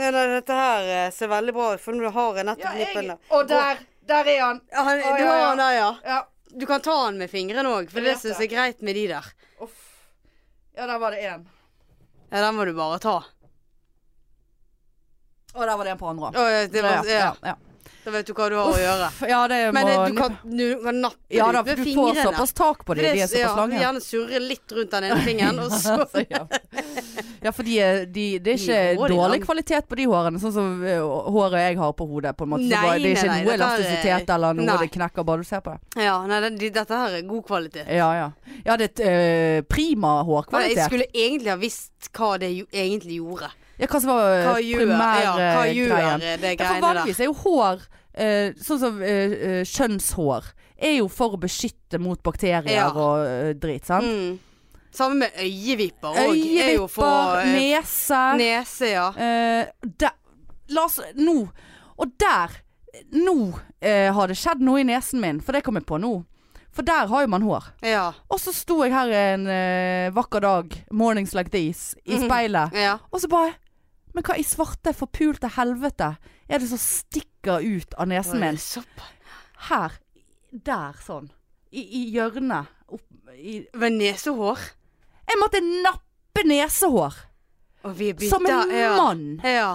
Nei, nei, Dette her eh, ser veldig bra ut, for du har en nettopp
Ja,
nippelen.
jeg, og der! Der er han!
Ja, han-
Å,
Du
ja,
har
ja.
den der, ja.
Ja.
Du kan ta den med fingrene òg, for
Jeg vet
det syns
det.
jeg er greit med de der.
Uff. Ja, der var det én.
Ja, den må du bare ta.
Og der var det en på andre.
Å, ja, det var, ja.
ja.
Da vet du hva du har å gjøre.
Uff, ja, det må
Men det, du,
nipp-
kan, du kan nappe
Ja da,
det
for
ut
du
med
får
fingrene.
såpass tak på
For
dem. De er
det- ja,
såpass lange.
Gjerne surre litt rundt den ene fingeren, og så
Så, ja. ja, for de, er- de, det
De
er ikke
hår i
dårlig
dag.
kvalitet på de hårene, sånn som eh, håret jeg har på hodet. På en måte. Så
Nei,
bare, det er ikke
nei, nei,
noe
dette er-
elastisitet eller noe
nei.
det knekker bare du ser på det.
Ja, nei, det, de- dette her er god kvalitet.
Ja, ja. ja det er et, eh, prima
Men jeg
hårkvalitet.
skulle egentlig ha visst hva det jo, egentlig gjorde.
Ja, hva som var
Hva gjør, ja, hva gjør
Eh, primærgreien.
eh, det
Ja, for
greiene der?
vanligvis er jo hår, eh, sånn som eh, eh, kjønnshår, er jo for å beskytte mot bakterier
Ja.
og eh, drit, sant?
Mm. Samme med øyevipper òg.
Øyevipper, nese
eh, Nese, ja.
eh, der, La oss Nå. Og der Nå eh, har det skjedd noe i nesen min, for det kom jeg på nå. For der har jo man hår.
Ja.
Og så sto jeg her en eh, vakker dag, mornings like these, i
Mhm.
speilet.
ja.
Og så bare Men hva i svarte forpulte helvete er det som stikker ut av nesen min?
Sopp.
Her. Der, sånn. I, i hjørnet. Opp, i.
Men nesehår?
Jeg måtte nappe nesehår!
Og vi er bytta.
Som en
ja.
mann!
Ja.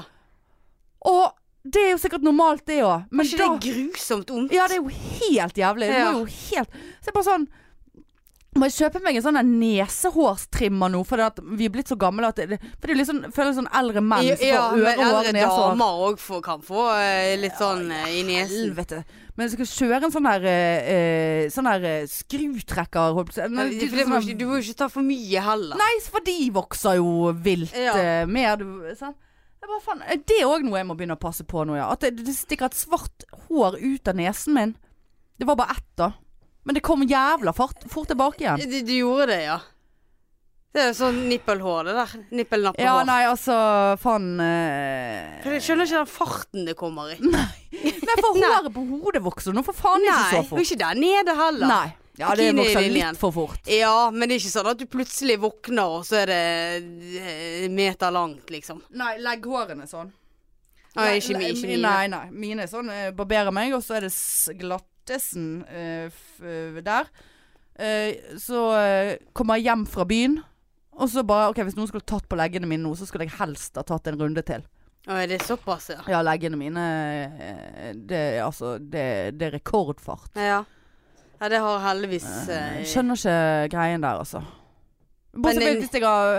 Og det er jo sikkert normalt, det òg. Men
Ikke
da
det er grusomt ondt?
Ja, det er jo helt jævlig. Det
Ja.
var jo helt Så jeg bare sånn må jeg kjøpe meg en sånn der nesehårstrimmer nå, for vi er blitt så gamle at det, For det er jo litt sånn, føles sånn eldre menn som
ja,
får
men
ørehår
eldre
og nesehår.
damer òg får- kan få eh, litt sånn eh, i nesen.
Helvete. Men jeg skal kjøre en sånn her eh, eh, Sånn her eh, skrutrekker holdt på å si.
Ja,
Nei,
det-
sånn
for det må
her-
ikke, du må jo ikke ta for mye heller.
Nei, for de vokser jo vilt
Ja.
eh, mer. Du, sant? Jeg bare, faen, er det er òg noe jeg må begynne å passe på nå, ja. At det, det stikker et svart hår ut av nesen min. Det var bare ett, da. Men det kom jævla fort, fort tilbake igjen.
Eh, Du, du gjorde det, ja. Det er sånn nippelhår, det der. Nippelnappehår.
Ja, nei, altså, faen eh,
Jeg skjønner ikke den farten det kommer i.
Nei, for håret på hodet vokser nå for faen ikke så
og
fort.
ikke der nede heller.
Nei. Ja, det
Bikini
vokser
i linjen.
litt for fort.
Ja, men det er ikke sånn at du plutselig våkner, og så er det eh, meter langt, liksom.
Nei, legg hårene sånn.
Nei, ikke, mi- ikke mine.
Nei, nei. Mine er sånn eh, barberer meg, og så er det s- glattesen eh, f eh, der. Eh, så eh, kommer jeg hjem fra byen, og så bare OK, hvis noen skulle tatt på leggene mine nå, så skulle jeg helst ha tatt en runde til.
Å, er det såpass, ja?
Ja, leggene mine eh, Det er altså Det, det er rekordfart.
Ja. ja det har heldigvis eh,
Jeg skjønner ikke greien der, altså. Bortsett
Men
fra
den-
hvis jeg har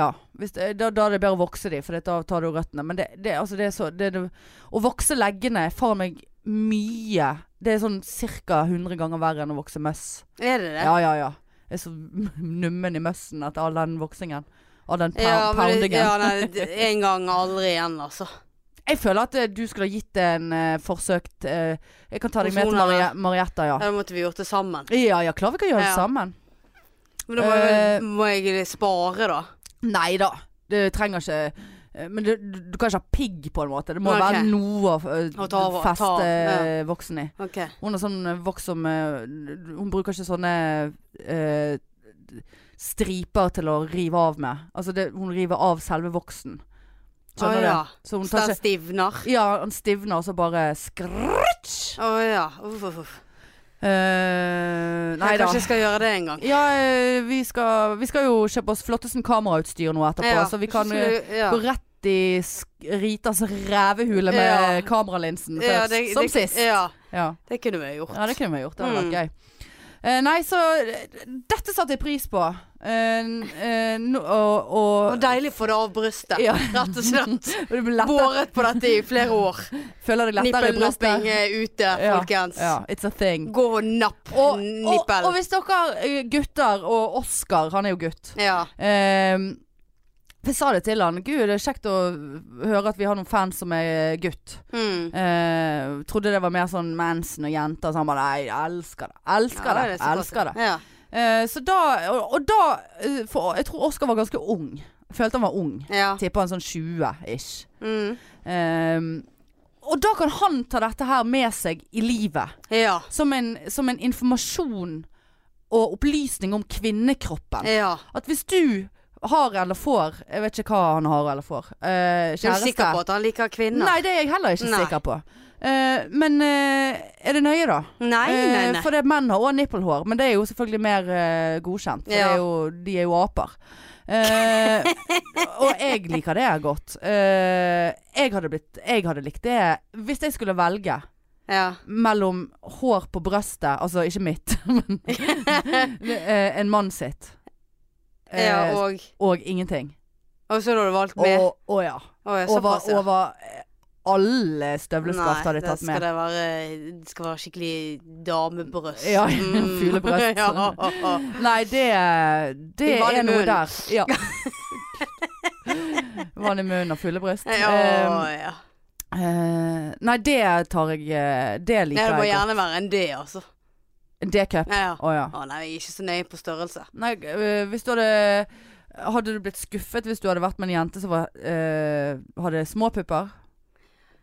Ja, hvis det, da, da er det bedre å vokse de, for det- da tar du røttene. Men det, det, altså, det er så det, det, Å vokse leggene er faen meg mye. Det er sånn ca. 100 ganger verre enn å vokse møss.
Er det det?
Ja, ja, ja. Jeg er så nummen i møssen etter all den voksingen. Av den
Ja,
pow-
men det-
poundingen.
ja, nei, det- en gang, aldri igjen, altså.
Jeg føler at eh, du skulle ha gitt det en eh, forsøkt eh, Jeg kan ta deg med til
Hormoner.
Marie, Marietta, ja.
Da måtte vi gjort det sammen.
Ja ja, klar vi kan gjøre det
Ja.
sammen.
Men da må,
Eh,
jeg, må jeg spare, da.
Nei da. Du trenger ikke eh, Men du, du du kan ikke ha pigg, på en måte. Det må
Ok.
være noe å
Å ta
eh,
av- ta
feste
av, ja.
eh, voksen i.
Ok.
Hun har sånn eh, voks som eh, Hun bruker ikke sånne eh, striper til å rive av med. Altså det, hun river av selve voksen. Skjønner du?
Å, ja.
Så hun
Så
tar
den
ikke
stivner.
Ja, han stivner, og så bare skrrtsj!
Å ja. Uff, uff, uff.
Eh, nei
jeg
da.
kanskje skal gjøre det en gang.
Ja, eh, vi skal, vi skal jo kjøpe oss flotteste kamerautstyr nå etterpå,
Ja,
så vi kan eh,
skulle- ja.
gå rett i sk- Ritas rævehule med
Ja.
kameralinsen først.
Ja, det-
som
det-
sist. Ja.
Ja,
Ja.
det kunne vi gjort.
det kunne vi gjort. Det hadde
Mm.
vært gøy. Eh, nei, så eh, Dette satte jeg pris på. Eh, n- eh, nå- og, og,
Og deilig å få det av brystet,
Ja.
rett og slett.
og det blir lettere,
Båret på dette i flere år.
føler deg lettere i
Nippelnapping
brystet.
er ute,
Ja,
folkens.
Ja, it's a thing.
Gå og napp
Og, og,
nippel.
og hvis dere eh, gutter, og Oskar, han er jo gutt
ja.
Ehm, jeg sa det til han. Gud, det er kjekt å høre at vi har noen fans som er gutt.
Mm.
Eh, trodde det var mer sånn mensen og jenter. Så han bare nei, jeg elsker det. Elsker
Ja,
det.
er så koselig.
elsker det.
Ja.
Eh, så da Og, og da eh, For jeg tror Oskar var ganske ung. Jeg følte han var ung.
ja.
Tippa han sånn 20-ish.
Mm.
Ehm, og da kan han ta dette her med seg i livet.
ja.
Som en, som en informasjon og opplysning om kvinnekroppen.
Ja.
At hvis du har eller får Jeg vet ikke hva han har eller får. eh,
Er du
kjæreste.
sikker på at han liker kvinner?
Nei, det er jeg heller ikke
Nei.
sikker på. Eh, men eh, er det nøye, da?
nei, nei.
Eh,
nei.
for det, menn har òg nippelhår, men det er jo selvfølgelig mer eh, godkjent. For
Ja.
det er jo, de er jo aper. Eh, og jeg liker det godt. Eh, jeg, hadde blitt, jeg hadde likt det hvis jeg skulle velge
Ja.
mellom hår på brøstet, altså ikke mitt, men eh, en mann sitt, eh,
ja og,
og ingenting.
og så hadde du valgt med?
Og, og ja.
Å, ja,
Over,
såpass, ja.
over eh, alle støvleskaft har de
det
tatt
Skal
med.
det, være, det skal være skikkelig damebrøst.
Ja,
Mm.
fuglebrøst.
ja, å, å.
Nei, det, det
Vann i
er noe
munnen.
der. Ja. Vann i munnen og fuglebryst.
ja,
Um,
ja.
eh, nei, det tar jeg eh, Det
Nei, det
liker
må
jeg godt.
gjerne være en D, altså.
D-cup.
Ja, ja.
Å ja.
Å nei, jeg er ikke så nøye på størrelse.
Nei, eh, hvis du hadde Hadde du blitt skuffet hvis du hadde vært med en jente som var, eh, hadde små pupper?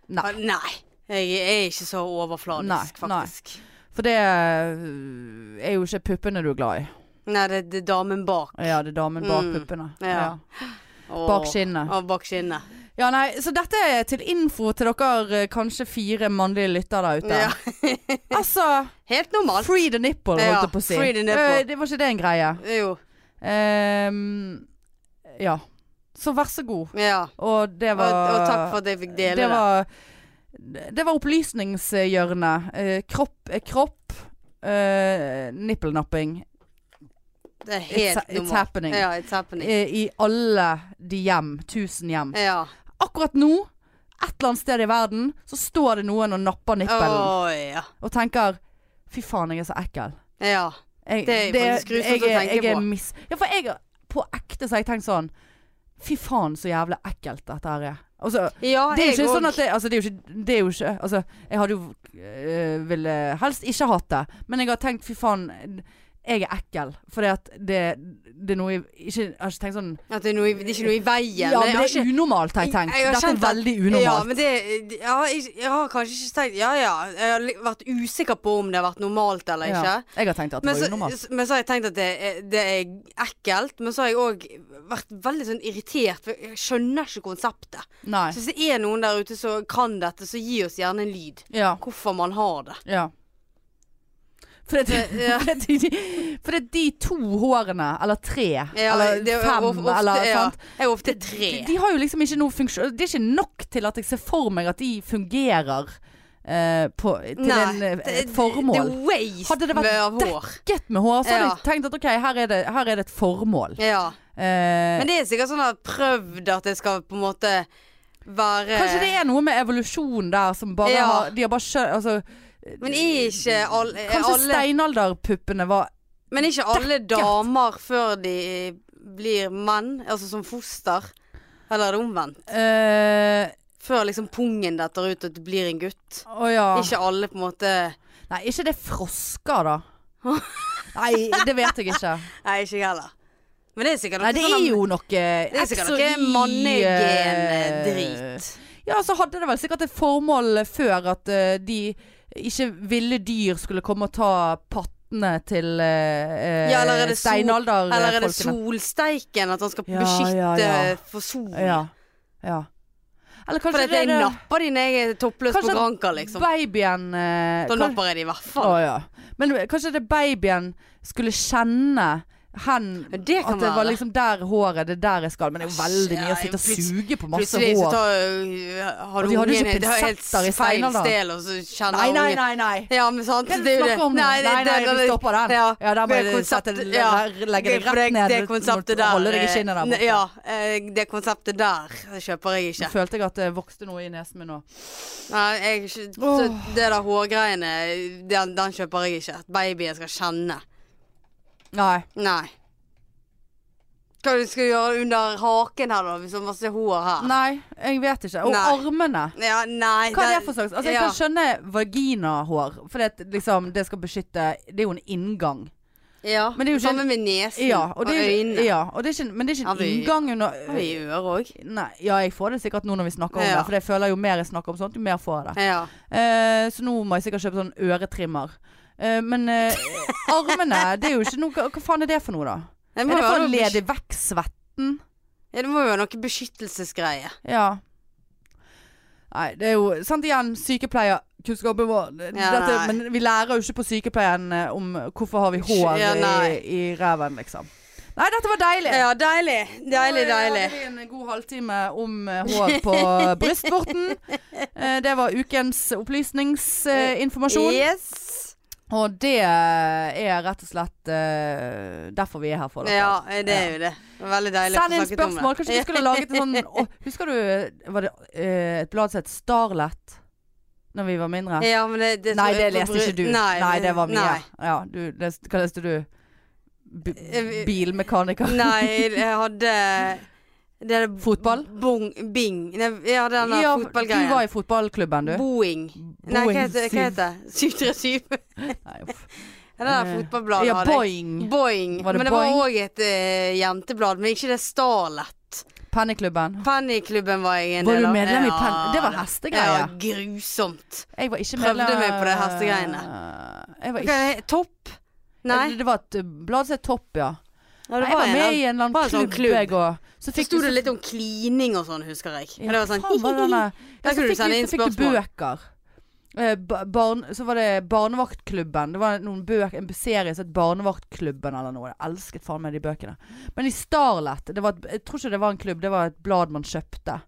Nei.
Å, nei. Jeg er ikke så overfladisk,
Nei, nei.
faktisk. Nei,
For det eh, er jo ikke puppene du er glad i.
det, det er damen bak.
Ja, det er damen bak
Mm,
puppene.
ja. Å,
Bak skinnet.
Å, bak skinnet.
Ja, nei, så dette er til info til dere eh, kanskje fire mannlige lyttere der ute.
Ja.
Altså,
Helt normalt.
free the nipple, holdt
Ja,
jeg på å si.
free the nipple.
Eh, det var ikke det en greie.
Jo.
Ehm, ja. Så vær så god.
Ja.
Og det
Og,
var
og takk for at jeg fikk
det.
dele det.
Var, det var opplysningshjørnet. Eh, kropp er kropp. Uh, Nippelnapping
Det, er helt
it's- it's
normalt.
happening.
Ja, it's happening.
eh, i alle de hjem. Tusen hjem.
Ja.
Akkurat nå, et eller annet sted i verden, så står det noen og napper
Å
nippelen.
ja.
og tenker Fy faen, jeg er så ekkel.
Ja.
Jeg,
Det er faktisk grusomt
jeg,
å
er-
tenke
jeg er
på.
Mis, ja, for jeg på ekte så har jeg tenkt sånn Fy faen, så jævlig ekkelt dette her er. Altså,
ja
det er jo
jeg
ikke sånn
òg.
at det, altså, det er jo ikke, det er jo ikke altså, Jeg hadde jo øh, ville helst ikke hatt det, men jeg har tenkt fy faen, jeg er ekkel. Fordi at det, det er noe jeg ikke Jeg har ikke tenkt sånn
At det er, noe, i- det er ikke noe i veien.
Ja,
men
men
jeg har
det er unormalt, har jeg tenkt.
Jeg har
Dette
kjent
er
at-
veldig
Ja,
unormalt.
men det ja, jeg, jeg har kanskje ikke tenkt Ja ja, jeg har li- vært usikker på om det har vært normalt eller
Ja,
ikke.
jeg har tenkt at det
Men så,
var unormalt.
s- men så har jeg tenkt at det er, det er ekkelt. Men så har jeg òg vært veldig sånn irritert. For jeg skjønner ikke konseptet.
Nei.
Så hvis det er noen der ute som kan dette, så gi oss gjerne en lyd.
Ja.
Hvorfor man har det.
Ja. For at,
ja.
for at, de- for at de to hårene, eller tre,
Ja,
eller
det er
fem,
of- ofte,
eller
ja,
sant?
Jeg er ofte tre.
De, de har jo liksom ikke noe funksjon Det er ikke nok til at jeg ser for meg at de fungerer eh, på, til
Nei,
en, eh,
det-
et formål.
Det er waste
Hadde det vært
med av hår.
Gikk med hår, så hadde
Ja.
jeg tenkt at ok, her er det, her er det et formål.
Ja.
Eh,
Men det er sikkert sånn at jeg har prøvd at det skal på en måte være
kanskje det er noe med evolusjon der som bare
eh, Ja.
har De har bare skjønt altså,
Men er ikke all, er
Kanskje
alle
steinalderpuppene var
Men er ikke alle damer før de blir menn? Altså som foster? Eller er det omvendt?
eh,
Før liksom pungen detter ut og du blir en gutt?
Å ja.
Ikke alle på en måte
Nei, ikke det frosker da Nei, det vet jeg ikke
Nei, ikke jeg heller. Men det er sikkert sånn
Nei, det er jo noe
det er sikkert noe eh,
eh,
mannegen-drit.
Ja, så hadde det vel sikkert et formål før At eh, de ikke ville dyr skulle komme og ta pattene til eh,
Ja, eller er det sol-
steinalderfolkene
Eller er det solsteiken? At han skal
Ja,
beskytte
ja, ja.
for sol?
Ja, ja Eller
For
kanskje
dette, jeg
det er
napper de når jeg er toppløs
Kanskje
på Granka, liksom.
babyen eh,
Da
kan-
napper jeg de i hvert
Å
fall.
ja. Men kanskje det babyen skulle kjenne hen
Men Det kan
At det var
være.
liksom der håret, det er der jeg skal. Men det er jo veldig mye å sitte og
Plutselig-
suge på masse
Plutselig så
hår.
tar, øh, har
Og de hadde jo
ungen
ikke
det er helt
pinsetter i
feil
steinalderen.
sted, og så kjenner
Nei, nei,
ungen-
nei. nei.
Ja, men sant.
Hva er det du
det er jo det.
snakker om? nå?
Nei, det-
nei, nei,
det-
vi stopper den.
Ja.
Ja, der må
Det
du
konseptet-
sette-
ja.
legge deg
for
rett ned.
Det
Du må
konseptet der
Holde deg i
eh,
kinnet der
ne-
borte.
Ja. eh, Det konseptet der kjøper jeg
Nå
ikke.
følte jeg at det vokste noe i nesen min nå.
Nei, jeg, så
Åh.
det der hårgreiene, den, den kjøper jeg ikke. At babyen skal kjenne.
Nei.
Nei. Hva du skal gjøre under haken her, da? Hvis det er masse hår her.
Nei, jeg vet ikke. Og
Nei.
armene.
Ja, nei
Hva er det for slags? Altså, jeg
ja.
kan skjønne vaginahår, for det, liksom, det skal beskytte Det er jo en inngang.
Ja,
Men det er jo ikke-
Samme med nesen
Ja, og det, er-
øynene.
ja, og det er ikke, en- men det er ikke
Har
en
vi-
inngang under
Og i øret òg.
Nei, ja, jeg får det sikkert nå når vi snakker om
Ja.
det. For jeg føler jo mer jeg snakker om sånt, jo mer får jeg det.
Ja.
Eh, så nå må jeg sikkert kjøpe sånn øretrimmer. Eh, men eh, armene, det er jo ikke noe hva, hva faen er det for noe, da?
Det
Er
må,
det for å
være noe,
lede
besky-
vekk svetten?
ja, det må jo være noe beskyttelsesgreie.
Ja. Nei, det er jo Sant igjen, sykepleierkunnskapen vår.
Ja,
Dette,
nei.
men vi lærer jo ikke på sykepleien eh, om hvorfor har vi hår
Ja, nei.
i, i ræven, liksom. Nei, dette var deilig.
Ja, deilig. Deilig,
Nå, eh,
deilig.
hadde vi en god halvtime om eh, hår på brystvorten. Eh, Det var ukens opplysningsinformasjon.
Yes.
Og det er rett og slett eh, derfor vi er her for dere.
Ja, det er jo det. Veldig deilig
Send inn
å få snakket om
spørsmål. Kanskje vi skulle laget en sånn å, Husker du eh, var det, eh, et blad som het Starlet? Når vi var mindre?
Ja, men det, det
nei, det leste ikke du.
Nei,
det var mye.
nei.
Ja, du, les- hva leste du? B
Eh, vi-
bilmekaniker?
Nei, jeg hadde det er
Fotball?
Bong, bing. Nei, ja, den der
ja,
fotballgreia.
du var i fotballklubben, du.
Boeing. Nei, hva
Boeing
heter hva heter det? 737?
Nei, uff.
Ja, det der
Eh,
fotballbladet
ja,
hadde jeg.
Boing.
Boing.
Var det
men det var
Boing?
òg et eh, jenteblad, men ikke det Starlet.
Pennyklubben.
Pennyklubben var jeg en
Var
del
du
av.
medlem i
Ja,
Penny? Det var hestegreier.
Ja, grusomt.
Jeg var ikke
Prøvde
medlem
meg på det hestegreiene.
Jeg var
Hva
ikke
er det? Topp? Nei.
Det, det var et eh, blad som het Topp, ja.
Ja,
Nei, jeg var
en
med
av-
i en eller
var
annen
en sånn
klubb,
klubb.
jeg òg. Så
Så
fikk
sto
vi-
det litt om klining og sånn, husker jeg. Men det var sånn
Faen, var det den der?
Der
Ja, så
kunne du
fikk,
sende
vi-
inn
så fikk du
spørsmål.
bøker. Eh, ba- barn, så var det Barnevaktklubben. Det var noen bøker, en serie som het Barnevaktklubben eller noe. Jeg elsket faen meg de bøkene. Men i Starlet det var et, Jeg tror ikke det var en klubb, det var et blad man kjøpte.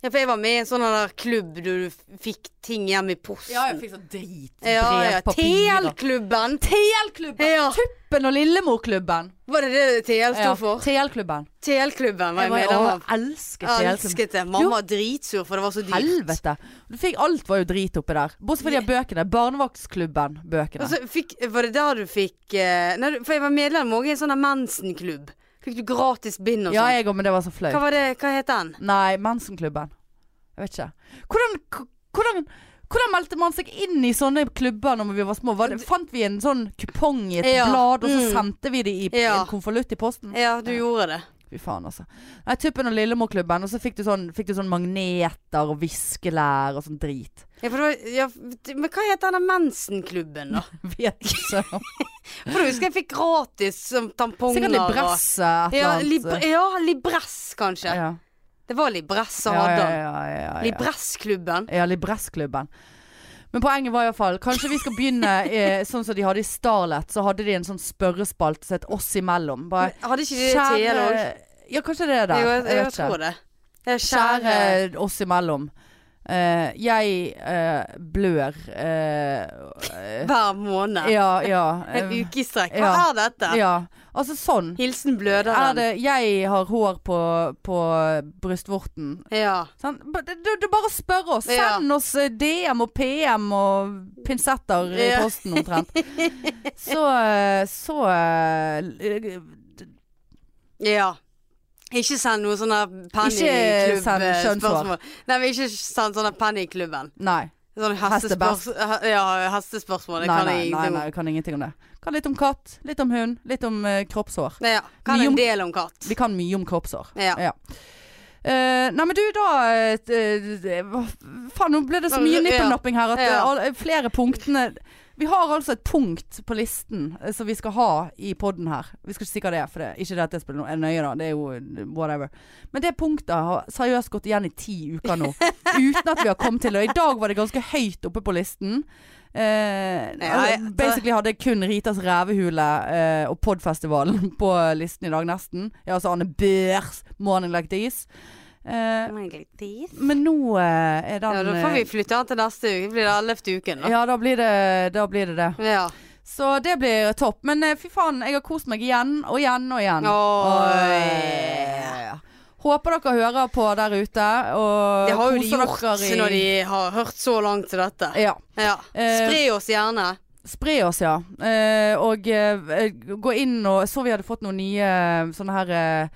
Ja, for jeg var med i en sånn der klubb der du f- fikk ting hjem i posten.
fikk sånn drit.
ja, ja. TL-klubben!
TL-klubben!
Ja.
Tuppen og Lillemorklubben.
Var det det TL sto
Ja,
for?
TL-klubben.
TL-klubben var
Jeg
jeg
var,
medlem
å,
av.
elsket
Jeg
TL-klubben.
Elsket det.
Jo.
Mamma var dritsur, for det var så dyrt.
Helvete. Du fikk, alt var jo drit oppi der. Bortsett fra de her bøkene. Barnevaktsklubben-bøkene.
Og så fikk, var det der du fikk eh, nei, du- For jeg var medlem også i en sånn der mensenklubb. Fikk du gratis bind og
ja,
sånn.
jeg òg, men det var så flaut.
Hva var det, hva het den?
Nei, Mensenklubben. Jeg vet ikke. Hvordan, k- hvordan, hvordan meldte man seg inn i sånne klubber når vi var små? Var det, fant vi en sånn kupong i et
Ja,
blad, og så
mm.
sendte vi det i i
Ja.
en konvolutt i posten?
Ja, du gjorde det.
Fy faen, altså. Nei, Tuppen og Lillemorklubben, og så fikk du sånn, fikk du sånn magneter og viskelær og sånn drit.
Ja, for det var, ja, men hva het den der mensenklubben, da?
Vet ikke.
For jeg husker jeg fikk gratis som tamponger.
Sikkert Libresse
og-
et eller
Ja,
annet. eh.
libr ja, Libress, kanskje.
ja.
Det var Libress som
Ja,
hadde
ja,
den.
ja, ja, ja.
Libressklubben.
Ja, Libressklubben. Men poenget var iallfall Kanskje vi skal begynne eh, sånn som de hadde i Starlet. Så hadde de en sånn spørrespalte som het Oss imellom. Bare
Hadde ikke de det i TL òg?
kjære Ja, kanskje det er det.
Jo, jeg, jeg,
vet ikke.
tror det. Ja,
Kjære
kjære
oss imellom. Eh, jeg eh, blør eh,
hver måned.
Ja, ja.
En
eh,
uke i strekk. Hva
ja.
er dette?
ja. Altså sånn.
Hilsen
Er
bløderen.
det Jeg har hår på, på brystvorten.
Ja.
Sant? Ba- Det, det, det er bare å spørre oss.
Ja.
Send oss eh, DM og PM og pinsetter i
Ja.
posten omtrent. Så, eh, så eh, l-
ja. Ikke send noe sånn sånne
Ikke send
pennyklubb-spørsmål.
kjønnshår.
eh, Nei, men ikke send sånne pennyklubben.
Nei.
Sånn
Hestebest.
hestespørs he- ja,
Nei,
hestespørsmål. Det
nei,
kan
nei,
jeg
nei,
ingenting om.
jeg kan ingenting om det. Kan litt om katt, litt om hund, litt om eh, kroppshår.
Ja, kan
Mye om-
en del om katt.
Vi kan mye om kroppshår.
Ja.
Eh, nei, men du, da eh, t- eh, hva Faen, nå ble det så mye
Ja.
nippenapping her at eh,
Ja.
alle- flere punktene Vi har altså et punkt på listen eh, som vi skal ha i poden her. Vi skal ikke si hva det er, for det er ikke det at det spiller noe er nøye, da. Det er jo eh, whatever. Men det punktet har seriøst gått igjen i ti uker nå. uten at vi har kommet til det. Og i dag var det ganske høyt oppe på listen. Eh,
Ja, jeg-
altså, basically hadde jeg kun Ritas revehule eh, og podfestivalen på listen i dag, nesten. Ja, altså Anne Børs 'Morning Like This'. Eh, men nå eh, er den eh,
Ja, da får vi flytte han til neste uke. Blir det ellevte uken, da?
ja, da blir det da blir det. det.
Ja.
Så det blir topp. Men eh, fy faen, jeg har kost meg igjen og igjen og igjen.
Oi.
Oi. Håper dere hører på der ute. Og
Det har jo de
koser
gjort
dere i-
når de har hørt så langt til dette.
ja.
Ja.
Eh,
Spre oss gjerne.
Spre oss, ja. Eh, og eh, gå inn og Så vi hadde fått noen nye eh, sånne her eh,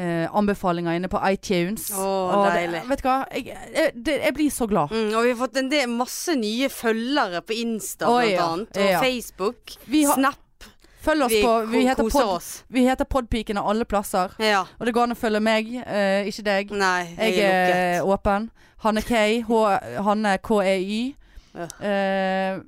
eh, anbefalinger inne på iTunes.
Å,
Og det-
deilig.
Vet du hva, jeg, jeg, det, jeg blir så glad.
Mm, og vi har fått en del, masse nye følgere på Insta
Å,
blant
ja.
annet. Og
Ja.
Facebook.
Vi har-
Snap.
Følg oss på
Vi, ko-
Vi heter,
koser
pod,
oss.
vi heter Podpikene alle plasser.
Ja.
Og det går an å følge meg, eh, ikke deg.
Nei, jeg,
Jeg eh, er
er lukket.
åpen. Hanne K. H Hanne KEY.
Ja.
Eh,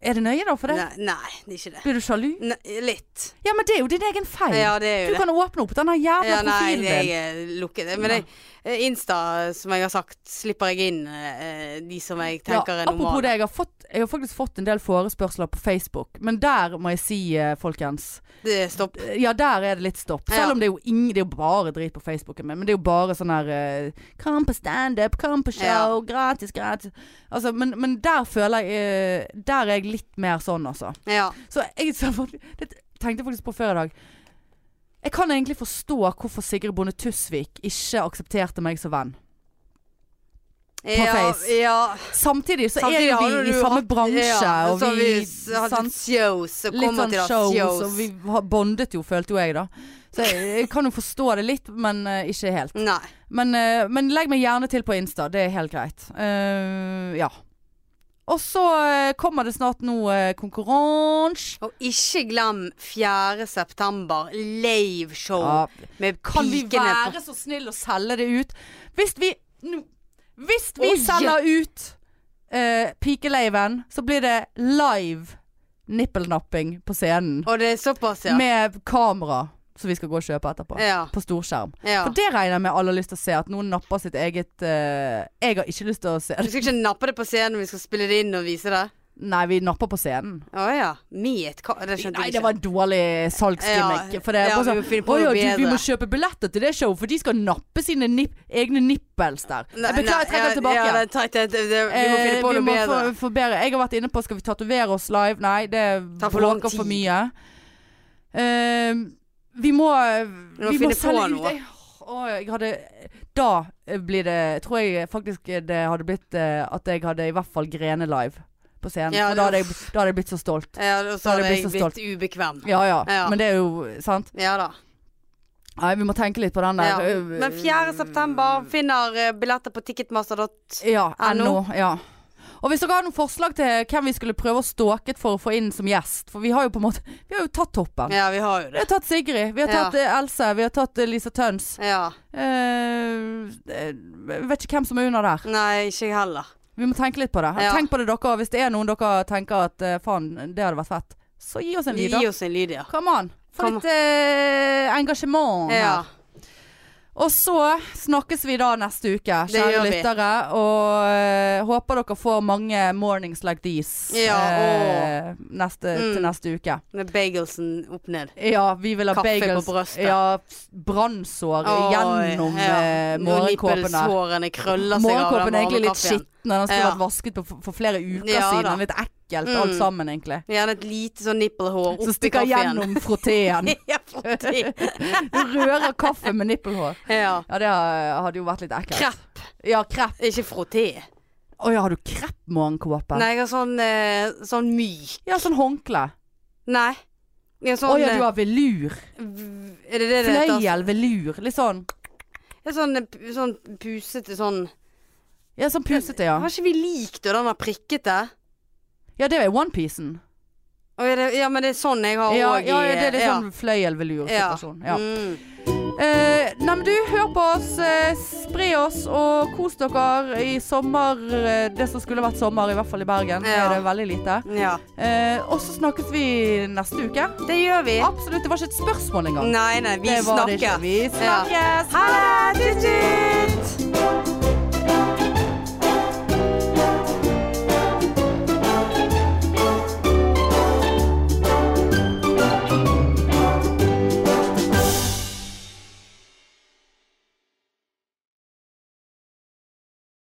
er det nøye, da, for det?
Nei, nei, det er ikke det.
Blir du sjalu?
Nei, litt.
Ja, men det er jo din egen feil.
Ja, det er
du
jo det.
kan åpne opp den jævla
Ja, nei,
profilen din.
jeg er lukket. Men jeg, eh, Insta, som jeg har sagt, slipper jeg inn eh, de som jeg tenker er
apropos
normale.
det, jeg har, fått, jeg har faktisk fått en del forespørsler på Facebook. Men der må jeg si, eh, folkens
Det er Stopp.
eh, Ja, der er det litt stopp.
Ja.
Selv om det er jo ingen Det er jo bare drit på Facebooken min. Men det er jo bare sånn her eh, Kom på standup, kom på show, gratis, gratis. Altså, men, men der føler jeg eh, Der er jeg litt mer sånn, altså.
Ja.
Så jeg så, det tenkte jeg faktisk på før i dag. Jeg kan egentlig forstå hvorfor Sigrid Bonde Tusvik ikke aksepterte meg som venn.
ja,
Face.
Ja.
Samtidig så
Samtidig
er
har
jo vi i
du
samme
hatt-
bransje,
ja,
og
så
vi,
s- har
sant?
hatt shows, og
Litt
kommer
sånn
til å ha
shows,
shows.
og vi har bondet jo, følte jo jeg, da. Så jeg, jeg kan jo forstå det litt, men eh, ikke helt.
Nei.
Men, eh, men legg meg gjerne til på Insta, det er helt greit. Eh, ja. Og så eh, kommer det snart noe eh, konkurranse.
Og ikke glem 4. september, liveshow
Ja,
med
Kan vi
pikene på
være så snill å selge det ut? Hvis vi nå- Hvis vi
Oi!
selger ut uh, Pikeleiven, så blir det live nippelnapping på scenen.
Og det er såpass, ja.
Med kamera som vi skal gå og kjøpe etterpå.
ja,
På storskjerm.
ja.
For det regner jeg med alle har lyst til å se. At noen napper sitt eget eh, Jeg har ikke lyst til å se
Du
det.
skal ikke nappe det på scenen, vi skal spille det inn og vise det?
Nei, vi napper på scenen.
Å ja. Med ka... Det skjønte
Nei,
jeg
det
ikke.
var en dårlig salgsgimmick.
Ja,
For det er
ja,
bare
vi
sånn
må finne på
«Å
noe
ja, du, vi
bedre.»
må kjøpe billetter til det showet, for de skal nappe sine nip egne nippels der.
Nei,
Jeg beklager, jeg trekker
nei,
den tilbake.
Ja, det, trekk det, det, det, vi må finne på
Eh, vi
noe
må
bedre.
få- få bedre. Jeg har vært inne på skal vi tatovere oss live. Nei, det
Tar for lang
bråker for
tid.
mye. Eh, vi må
Vi
Vi må
må finne på
selge ut
noe.
jeg, å, jeg hadde, Da blir det Tror jeg faktisk det hadde blitt eh, at jeg hadde i hvert fall grene live på scenen.
Ja,
Og da, hadde
det-
jeg, da hadde jeg blitt så stolt.
Ja, og
Da
så
hadde
hadde
jeg
jeg
blitt så
blitt ubekvem.
Ja, ja
Ja.
Men det er jo sant.
Ja da.
Nei, vi må tenke litt på den
Ja.
der. eh,
Men 4. september finner eh, billetter på ticketmaster.no.
Ja,
NO.
NO. Ja. Og hvis dere har noen forslag til hvem vi skulle prøve å stalke for å få inn som gjest For vi har jo på en måte Vi har jo tatt toppen.
Ja, vi har jo
Vi
det.
har tatt Sigrid, vi har
Ja.
tatt eh, Else, vi har tatt eh, Lisa Tøns.
Ja.
Eh, eh, vet ikke hvem som er under der.
Nei, ikke jeg heller.
Vi må tenke litt på det.
Ja.
Tenk på det dere, Hvis det er noen dere tenker at eh, faen, det hadde vært fett, så gi oss en lyd,
Gi
da.
oss en lyd, ja.
Come on. Få
Come
litt eh, engasjement
ja.
her. Og så snakkes vi da neste uke,
Det
kjære
gjør vi.
lyttere. Og eh, håper dere får mange mornings like these
Ja,
eh, neste, til
Mm.
neste uke.
Med bagelsen opp ned.
Ja, vi vil ha
Kaffe på
bagels.
brøstet.
Ja, s- brannsår
Oi,
gjennom
ja.
eh, morgenkåpene.
Nippelsårene krøller seg av
Morgenkåpen er
den varme
egentlig litt
kaffen.
skitten. Den skulle
Ja.
vært vasket på, for- for flere uker
Ja, da.
siden. Litt ekkelt
Mm.
alt sammen, egentlig.
Gjerne et lite sånn nippelhår
Som
oppi
stikker
kaffen.
gjennom froteen.
Ja, fordi-
Du rører kaffe med nippelhår.
ja.
Ja, det eh, hadde jo vært litt ekkelt.
Krepp.
Ja, krepp.
Ikke frotté.
Å ja, har du kreppmorgenkåpe?
Nei, jeg har sånn, eh, sånn myk
Ja, sånn håndkle.
Nei. Jeg har
Å
sånn
ja, du
eh,
har velur.
v- Er det det det altså. heter?
Fløyel, velur. Litt sånn.
Jeg har sånn, eh, pu- sånn pusete sånn
Ja, sånn pusete, ja.
Har ikke vi likt og den der prikkete?
Ja, det er onepiecen.
Å, er det- Ja, men det er sånn jeg har
Ja,
òg
ja, ja, det sånn er litt
ja.
sånn fløyel-velur-situasjon. Ja.
Mm.
Eh, nei, men du, hør på oss. Eh, spre oss, og kos dere i sommer. Eh, det som skulle vært sommer, i hvert fall i Bergen,
Ja.
er det veldig lite.
Ja.
Eh, og så snakkes vi neste uke.
Det gjør vi.
Absolutt. Det var ikke et spørsmål engang.
Nei, nei, vi
Det var det ikke.
snakker.
Vi
Ja.
snakkes.
Ha det! Tut-tut!